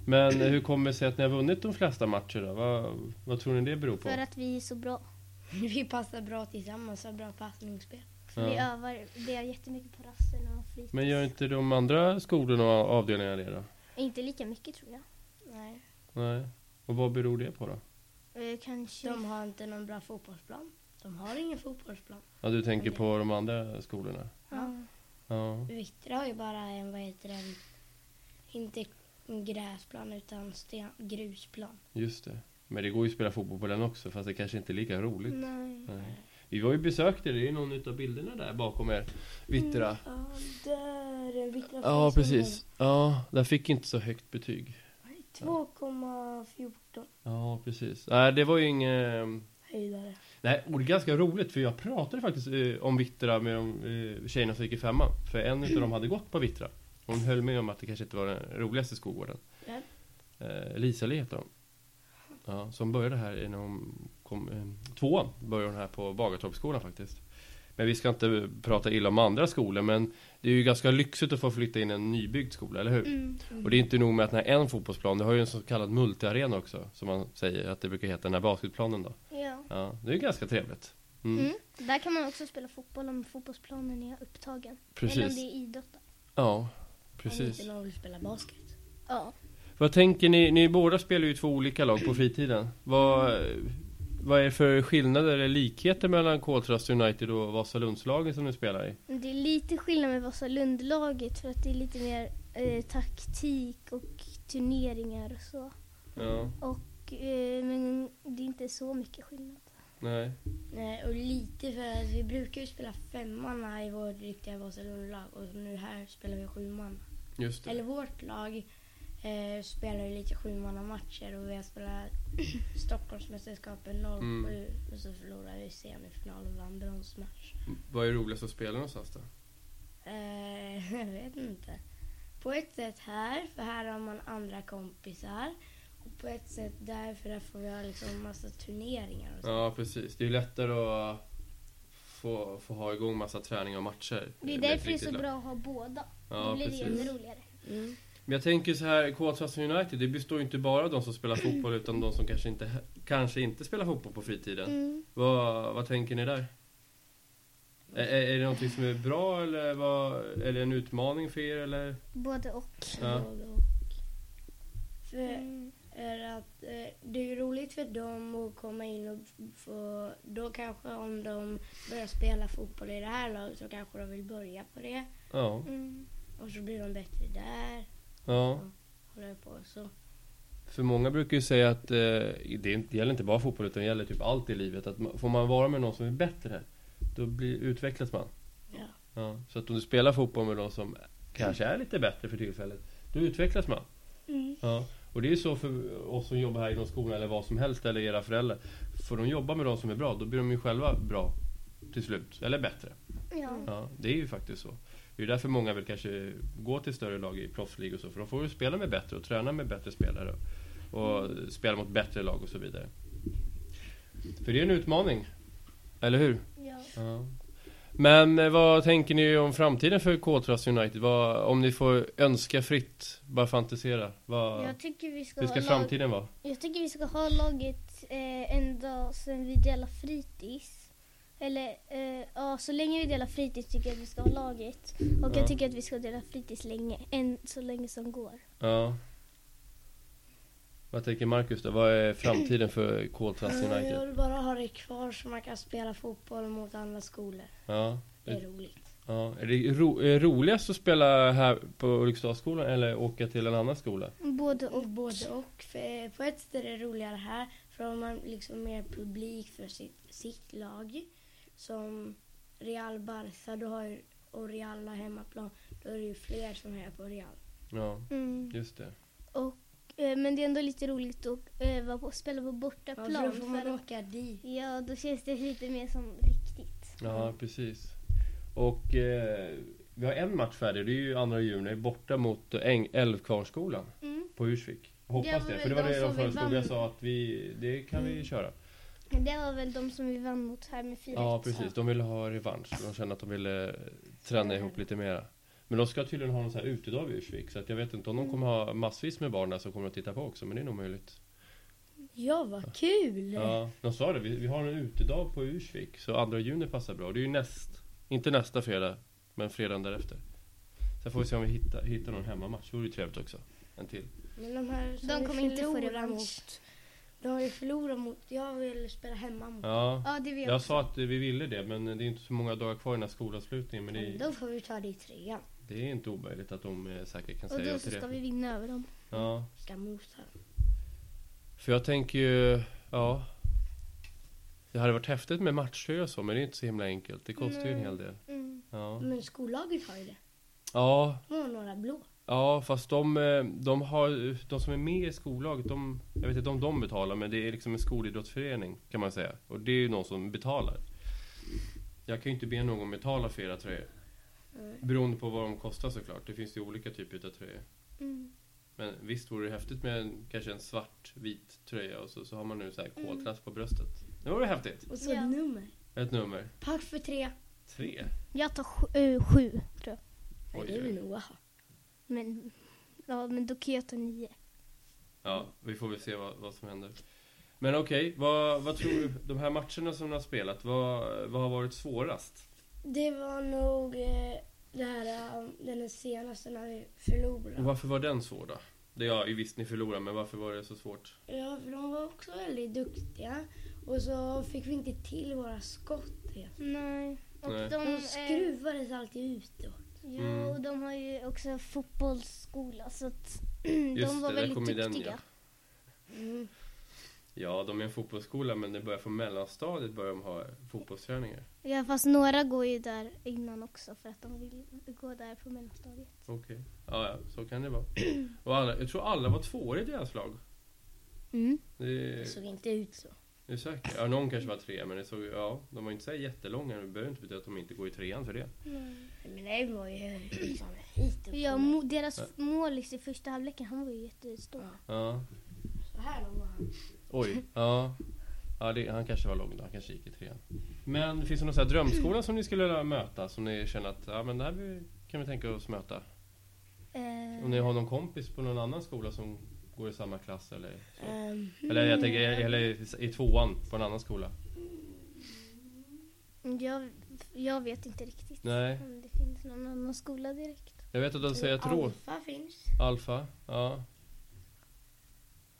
S1: Men eh, hur kommer det sig att ni har vunnit de flesta matcher då? Vad, vad tror ni det beror på?
S5: För att vi är så bra.
S6: *laughs* Vi passar bra tillsammans, har bra passningsspel.
S5: För
S1: Ja.
S5: vi övar vi har jättemycket på rasten och fritids.
S1: Men gör inte de andra skolorna och avdelningarna det då?
S5: Inte lika mycket tror jag.
S6: Nej.
S1: Nej. Och vad beror det på då?
S5: Eh, kanske.
S6: De har inte någon bra fotbollsplan. De har ingen fotbollsplan.
S1: Ja, du tänker på de andra skolorna?
S5: Ja.
S1: Ja.
S6: Vittra har ju bara en, vad heter den, inte gräsplan utan sten, grusplan.
S1: Just det. Men det går ju att spela fotboll på den också fast det kanske inte är lika roligt.
S5: Nej.
S1: Nej. Vi var ju besökte det, det är någon utav bilderna där bakom er. Vittra.
S6: Ja, där. Vittra
S1: Ja, precis. Ja, den fick inte så högt betyg.
S6: 2,14
S1: Ja, precis. Nej, det var ju inget...
S6: höjdare.
S1: Nej, och det är ganska roligt för jag pratade faktiskt eh, om Vittra med de eh, tjejerna som gick i femman. För en utav dem hade gått på Vittra. Hon höll med om att det kanske inte var den roligaste skolgården.
S6: Vem?
S1: Eh, Lisa-Li heter hon. Ja, som började här när hon kom, eh, tvåan började hon här på Bagartorpsskolan faktiskt. Men vi ska inte prata illa om andra skolor men det är ju ganska lyxigt att få flytta in i en nybyggd skola, eller hur? Och det är inte nog med att den här en fotbollsplan, det har ju en så kallad multiarena också. Som man säger att det brukar heta, den här basketplanen då.
S5: Ja.
S1: Ja, det är ju ganska trevligt. Mm.
S5: Mm. Där kan man också spela fotboll om fotbollsplanen är upptagen. Eller om det
S1: Precis.
S5: är idrott. då.
S1: Ja,
S6: Om
S1: precis.
S6: inte någon vill spela basket.
S5: Ja.
S1: Vad tänker ni? Ni båda spelar ju i två olika lag på fritiden. Vad, vad är det för skillnader eller likheter mellan Koltrast United och Vasalundslagen som ni spelar i?
S5: Det är lite skillnad med Vasalundlaget för att det är lite mer eh, taktik och turneringar och så. Mm.
S1: Ja,
S5: Och, eh, men det är inte så mycket skillnad.
S1: nej.
S6: Nej, och lite för att vi brukar ju spela femmanna i vårt riktiga Vasalundlag och nu här spelar vi sjumanna.
S1: Just
S6: Eller
S1: det.
S6: vårt lag eh, spelar ju lite sjumannamatcher och vi har spelat *clears throat* Stockholmsmästerskapen 07
S1: Mm.
S6: och så förlorade vi semifinal och vann bronsmatch.
S1: Vad är roligast att spela någonstans då?
S6: Eh, *laughs* jag vet inte. På ett sätt här, för här har man andra kompisar. Och på ett sätt där, för där får vi ha liksom massa turneringar och så.
S1: Ja, precis. Det är ju lättare att få, få ha igång massa träning och matcher.
S5: Det är
S1: med ett
S5: därför det är
S1: riktigt
S5: så
S1: lag.
S5: bra att ha båda.
S1: Ja,
S5: Då blir
S1: precis.
S5: det ännu roligare.
S6: Mm.
S1: Men jag tänker så här, Kolsvassa United, det består ju inte bara av de som spelar fotboll utan de som kanske inte, kanske inte spelar fotboll på fritiden. Vad, vad tänker ni där? Är, är är det någonting som är bra eller vad, är det en utmaning för er eller?
S5: Både och.
S1: Ja.
S6: Och då- För, är att, eh, det är ju roligt för dem att komma in och f- få... Då kanske om de börjar spela fotboll i det här laget så kanske de vill börja på det.
S1: Ja.
S6: Och så blir de bättre där.
S1: ja.
S6: Håller på så.
S1: För många brukar ju säga att eh, det, är inte- det gäller inte bara fotboll utan det gäller typ allt i livet. Att man, får man vara med någon som är bättre, då blir, utvecklas man.
S6: Ja.
S1: Ja. Så att om du spelar fotboll med någon som kanske är lite bättre för tillfället, då utvecklas man. Ja. Och det är ju så för oss som jobbar här inom skolan eller vad som helst eller era föräldrar. Får de jobba med de som är bra, då blir de ju själva bra till slut. Eller bättre.
S5: Ja.
S1: Ja, det är ju faktiskt så. Det är ju därför många vill kanske gå till större lag i proffsligor och så, för de får ju spela med bättre och träna med bättre spelare och spela mot bättre lag och så vidare. För det är en utmaning, eller hur?
S5: Ja.
S1: Ja. Men eh, vad tänker ni om framtiden för Koltras United? Vad, om ni får önska fritt, bara fantisera. Vad,
S5: Jag tycker vi ska,
S1: hur ska
S5: ha lag-
S1: framtiden vara?
S5: Jag tycker vi ska ha laget eh, en dag sen vi delar fritids. Eller eh, ja, så länge vi delar fritids tycker jag att vi ska ha laget. Och
S1: Ja.
S5: jag tycker att vi ska dela fritids länge, än så länge som går.
S1: Ja. Vad tänker Marcus då? Vad är framtiden för Koltras
S6: Ja, Jag
S1: United?
S6: vill bara ha det kvar så man kan spela fotboll mot andra skolor.
S1: Ja.
S6: Det är roligt.
S1: Ja, är det ro, är det roligast att spela här på Ulriksdalsskolan eller åka till en annan skola?
S5: Både och.
S6: Både och. För eh, på ett sätt är det roligare här för då har man liksom mer publik för sitt, sitt lag. Som Real Barca då har, ju- och Real har hemmaplan, då är det ju fler som är på Real.
S1: Ja,
S5: Mm.
S1: just det.
S5: Eh, Men det är ändå lite roligt att eh, vara på, spela på
S6: Ja,
S5: bortaplan.
S6: för då får man
S5: för-
S6: åka dit.
S5: ja, då känns det lite mer som riktigt.
S1: Ja, precis. Och eh, vi har en match färdig. Det är ju 2 juni borta mot Äng- Älvkarlsskolan
S5: Mm.
S1: på Ursvik. Hoppas
S5: Det
S1: det,
S5: var
S1: för det
S5: väl
S1: var det de
S5: de som vi
S1: föreslog.
S5: vann. Mm.
S1: Jag sa att vi, det kan vi köra.
S5: Det var väl de som vi vann mot här med 4-1.
S1: Ja, precis. De ville ha revansch. De kände att de ville eh, träna ihop lite mera. Men de ska tydligen ha någon sån här utedag i Ursvik. Så att jag vet inte om
S5: Mm.
S1: de kommer ha massvis med barn där som kommer att titta på också. Men det är nog möjligt.
S6: Ja, vad kul!
S1: Ja, de sa det. Vi, vi har en utedag på Ursvik. Så 2 juni passar bra. Det är ju näst, inte nästa fredag, men fredagen därefter. Sen får vi se om vi hittar, hittar någon hemmamatch. Det vore ju trevligt också. En till.
S5: Mm.
S6: Men de här som
S5: De
S6: vi
S5: kommer inte få
S6: förlorar
S5: revansch.
S6: mot, De har ju förlorat mot, jag vill spela hemma mot.
S1: Ja,
S5: Ja, det vet
S1: jag sa att eh, vi ville det. Men det är inte så många dagar kvar innan skolavslutningen. Men det, är-
S6: Då får vi ta det i trean.
S1: det är inte omöjligt att de eh, säkert kan
S5: Och
S1: säga
S5: då
S1: ja
S5: så
S1: till
S5: ska
S1: det.
S5: vi vinna över dem.
S1: Ja.
S6: Ska mosa.
S1: För jag tänker ju, ja. Det hade varit häftigt med matchtröja och så, men det är inte så himla enkelt. Det kostar ju en
S5: Nej.
S1: hel del.
S5: Mm.
S1: Ja,
S6: Men skollaget har ju det.
S1: ja,
S6: De har några blå.
S1: ja fast de, eh, de, har, de som är med i skollaget, de, jag vet inte om de betalar, men det är liksom en skolidrottsförening kan man säga. Och det är ju någon som betalar. Jag kan ju inte be någon betala för era tröjor. Beroende på vad de kostar såklart. Det finns ju olika typer av tröjor.
S5: Mm.
S1: Men visst vore det häftigt med en, kanske en svart-vit tröja och så, så har man nu så här koltrast på bröstet. Det vore häftigt.
S6: Och så
S5: Ja.
S6: ett nummer.
S1: Ett nummer.
S6: Pack för tre.
S1: Tre?
S5: Jag tar sju, eh, sju, tror jag.
S1: Oj,
S6: Nej, det
S1: oj.
S6: vill nog jag ha.
S5: Men, ja, men då kan jag ta nio.
S1: Ja, vi får väl se vad, vad som händer. Men okej, vad, vad tror du? De här matcherna som du har spelat, vad, vad har varit svårast?
S6: Det var nog eh, det här, eh, den här senaste när vi förlorade.
S1: Och varför var den svår då? Det ja, visst ni förlorade, men varför var det så svårt?
S6: Ja, för de var också väldigt duktiga. Och så fick vi inte till våra skott. helt.
S5: Nej. Och
S1: Nej.
S4: Mm,
S5: de...
S6: De
S5: eh,
S6: skruvades alltid utåt.
S5: Ja,
S1: Mm.
S5: och de har ju också fotbollsskola så att
S1: Just
S5: de var
S1: det, där
S5: väldigt
S1: kom ju den,
S5: duktiga.
S6: Mm.
S1: Ja, de är en fotbollsskola, men det börjar från mellanstadiet börjar de ha fotbollsträningar.
S5: ja. fast några går ju där innan också för att de vill gå där på mellanstadiet.
S1: Okej. Ja, ja, så kan det vara. Och alla, jag tror alla var tvåor i deras lag.
S5: Mm.
S1: Det,
S6: Det såg inte ut så.
S1: det är säkert. Ja, någon kanske var tre, men det såg, ja, de var inte så här jättelånga. Det behöver inte betyda att de inte går i trean för det.
S6: Men det var ju liksom hit upp.
S5: Ja, mo- deras
S1: Ja.
S5: målis i första halvleken, han var ju jättestor.
S6: Ja.
S1: Ja.
S6: Så här lång var han.
S1: Oj, ja. ja det, han kanske var lång då, han kanske gick i trean. Men finns det någon sån här drömskola som ni skulle vilja möta? Som ni känner att, ja men det här vi- kan vi tänka oss möta?
S5: Eh,
S1: Om ni har någon kompis på någon annan skola som går i samma klass eller?
S6: Ehm,
S1: Eller jag tänker, eller i tvåan på en annan skola?
S5: Eh, jag, jag vet inte riktigt
S1: Nej.
S5: om det finns någon annan skola direkt.
S1: Jag vet att de säger att Rå,
S6: Alfa finns.
S1: Alfa, ja.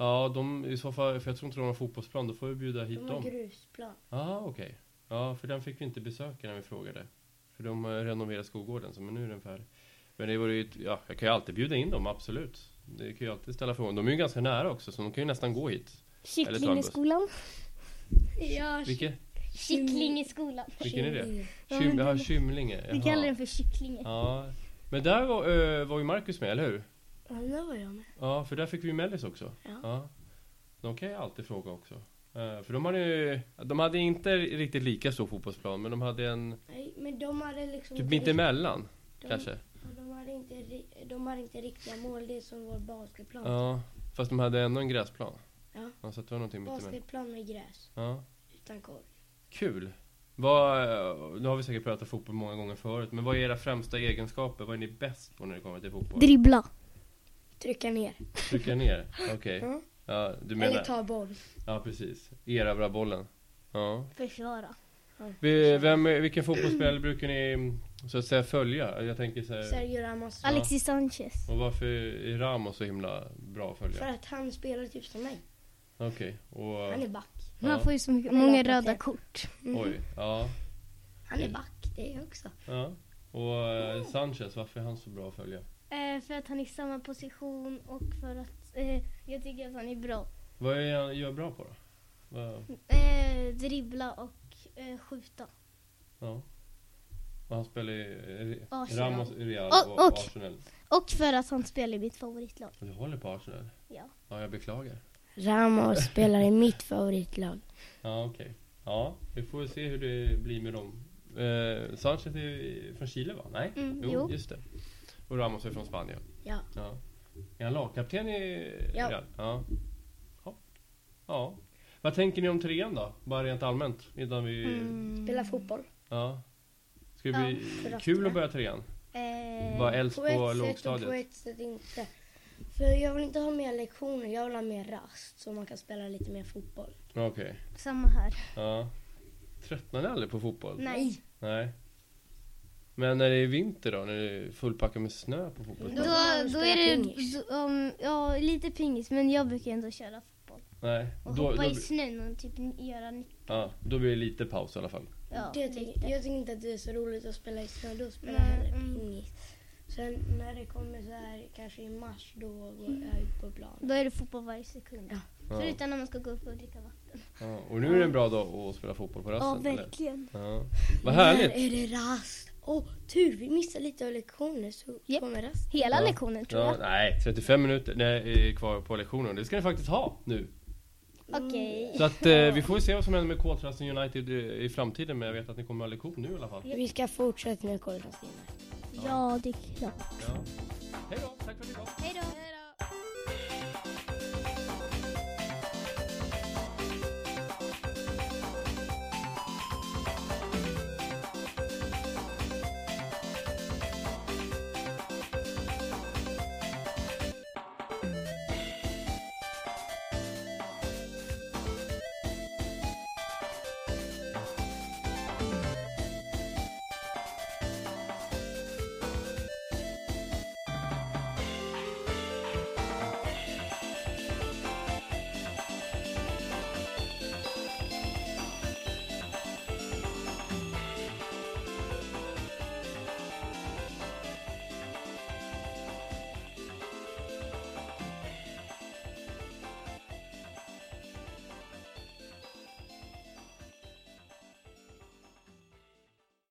S1: Ja, de i så fall, för jag tror inte de har fotbollsplan, då får vi bjuda hit
S6: De har
S1: dem.
S6: grusplan.
S1: Ja, okej. Ja, för den fick vi inte besöka när vi frågade. För de har renoverat skolgården, så men nu är den färdig. Men det vore ju, ett- ja, jag kan ju alltid bjuda in dem, absolut. Det kan ju alltid ställa frågan. De är ju ganska nära också, så de kan ju nästan gå hit.
S5: Kycklingeskolan.
S6: Ja,
S1: Vilke,
S5: Kycklingeskolan.
S1: vilken är det?
S5: Ja,
S1: Kym,
S5: men
S1: ja,
S5: den-
S1: Kymlinge.
S5: Vi
S1: jaha.
S5: kallar den för kycklinge.
S1: Ja. Men där var, eh, var ju Marcus med, eller hur?
S6: Ja, där var jag med.
S1: Ja, för där fick vi ju Mellis också.
S6: Ja.
S1: De kan jag alltid fråga också. Eh, för de hade ju, de hade inte riktigt lika stor fotbollsplan, men de hade en,
S6: Nej, men de hade liksom...
S1: typ mittemellan,
S6: de,
S1: kanske.
S6: och De hade, inte, ri- de hade inte riktiga mål, det är som vår basketplan.
S1: Ja, fast de hade ändå en gräsplan.
S6: Ja.
S1: så att det var någonting mitt emellan.
S6: Basketplan med gräs,
S1: Ja.
S6: utan korg.
S1: Kul. Vad, eh, nu har vi säkert pratat fotboll många gånger förut, men vad är era främsta egenskaper? Vad är ni bäst på när det kommer till fotboll?
S5: Dribbla.
S6: Trycka ner.
S1: Trycka ner? Okej.
S6: Ja.
S1: Ja, du
S6: Mm. Eller
S1: menar?
S6: ta boll.
S1: Ja, precis. Erövra bollen. Ja.
S5: Försvara.
S1: Vi- Vem, vilken fotbollsspelare brukar ni så att säga följa? Jag tänker så här,
S6: Sergio Ramos.
S1: Ja.
S5: Alexis Sanchez.
S1: och varför är Ramos så himla bra att
S6: För
S1: följa?
S6: att han spelar typ som mig.
S1: Okej,
S6: Han
S1: och...
S6: är back.
S5: Han
S1: Ja.
S5: får ju så mycket,
S6: Han är
S5: många
S6: röda
S5: röda
S6: kort.
S5: kort.
S1: Oj, ja.
S6: Han är back, det är jag också.
S1: ja. Och Och eh, Sanchez, varför är han så bra att följa?
S5: Eh, för att han är i samma position och för att eh, jag tycker att han är bra.
S1: Vad är han gör bra på då? Vad,
S5: Eh, dribbla och eh, skjuta.
S1: ja. Och han spelar i i-
S5: Arsenal.
S1: Ramos i Real
S5: Och-
S1: och,
S5: och-
S1: Arsenal.
S5: Och för att han spelar i mitt favoritlag.
S1: Du håller på Arsenal?
S5: Ja.
S1: Ja, jag beklagar.
S6: Ramos spelar i mitt favoritlag.
S1: Ja, okej. Ja, vi får se hur det blir med dem. Eh, Sanchez är från Chile va? Nej?
S5: Mm,
S1: jo,
S5: jo.
S1: just det. Och Ramos är från Spanien.
S6: Ja.
S1: ja. Är han lagkapten i
S6: Ja.
S1: Real? Ja. ja. Ja. Vad tänker ni om trean då? Bara rent allmänt innan vi...
S6: Spelar fotboll.
S1: Ja. Ska det bli
S6: Mm. för att-
S1: kul att börja trean?
S5: Eh,
S1: Vara äldst
S6: På
S1: på,
S6: ett sätt och på
S1: lågstadiet?
S6: ett sätt inte. För jag vill inte ha mer lektioner, jag vill ha mer rast så man kan spela lite mer fotboll.
S1: Okej.
S5: samma här.
S1: Ja. Tröttnar ni aldrig på fotboll?
S5: Nej.
S1: Nej. Men när det är vinter då? När det är fullpackat med snö på
S5: Då,
S3: Mm.
S1: fotbollsplanen?
S5: då är det
S6: Pingis.
S5: då, um, ja, lite pingis, men jag brukar ändå köra fotboll.
S1: Nej.
S5: Och
S1: Då, då,
S5: hoppa i snön och typ göra nick.
S1: ja, då blir det lite paus i alla fall.
S5: Ja.
S6: Det tycker- jag tycker inte att det är så roligt att spela i snö, då spelar jag
S5: Nej,
S6: hellre
S5: mm.
S6: pingis. Sen när det kommer så här, kanske i mars, då går jag ut på plan.
S5: Då är det fotboll varje sekund.
S1: Ja.
S5: Förutom när man ska gå upp och dricka vatten.
S1: Ja. Och nu är det en bra dag att spela fotboll på
S5: Ja,
S1: rasten? eller?
S5: verkligen.
S1: Ja. Vad härligt!
S6: När är det rast? Åh, tur, vi missar lite av lektioner så
S5: Japp.
S6: kommer rast.
S5: Hela
S1: Ja.
S5: lektionen tror
S1: Ja,
S5: jag.
S1: nej, 35 minuter nej, är kvar på lektionen. Det ska ni faktiskt ha nu.
S5: Okej.
S1: Så att eh, vi får ju se vad som händer med Koltrasten United eh, i i framtiden. Men jag vet att ni kommer ha lektion nu i alla fall.
S6: Vi ska fortsätta med kolhydraterna.
S5: Ja, det är klart.
S1: Ja. Hej då, tack för att ni kom.
S5: Hej då.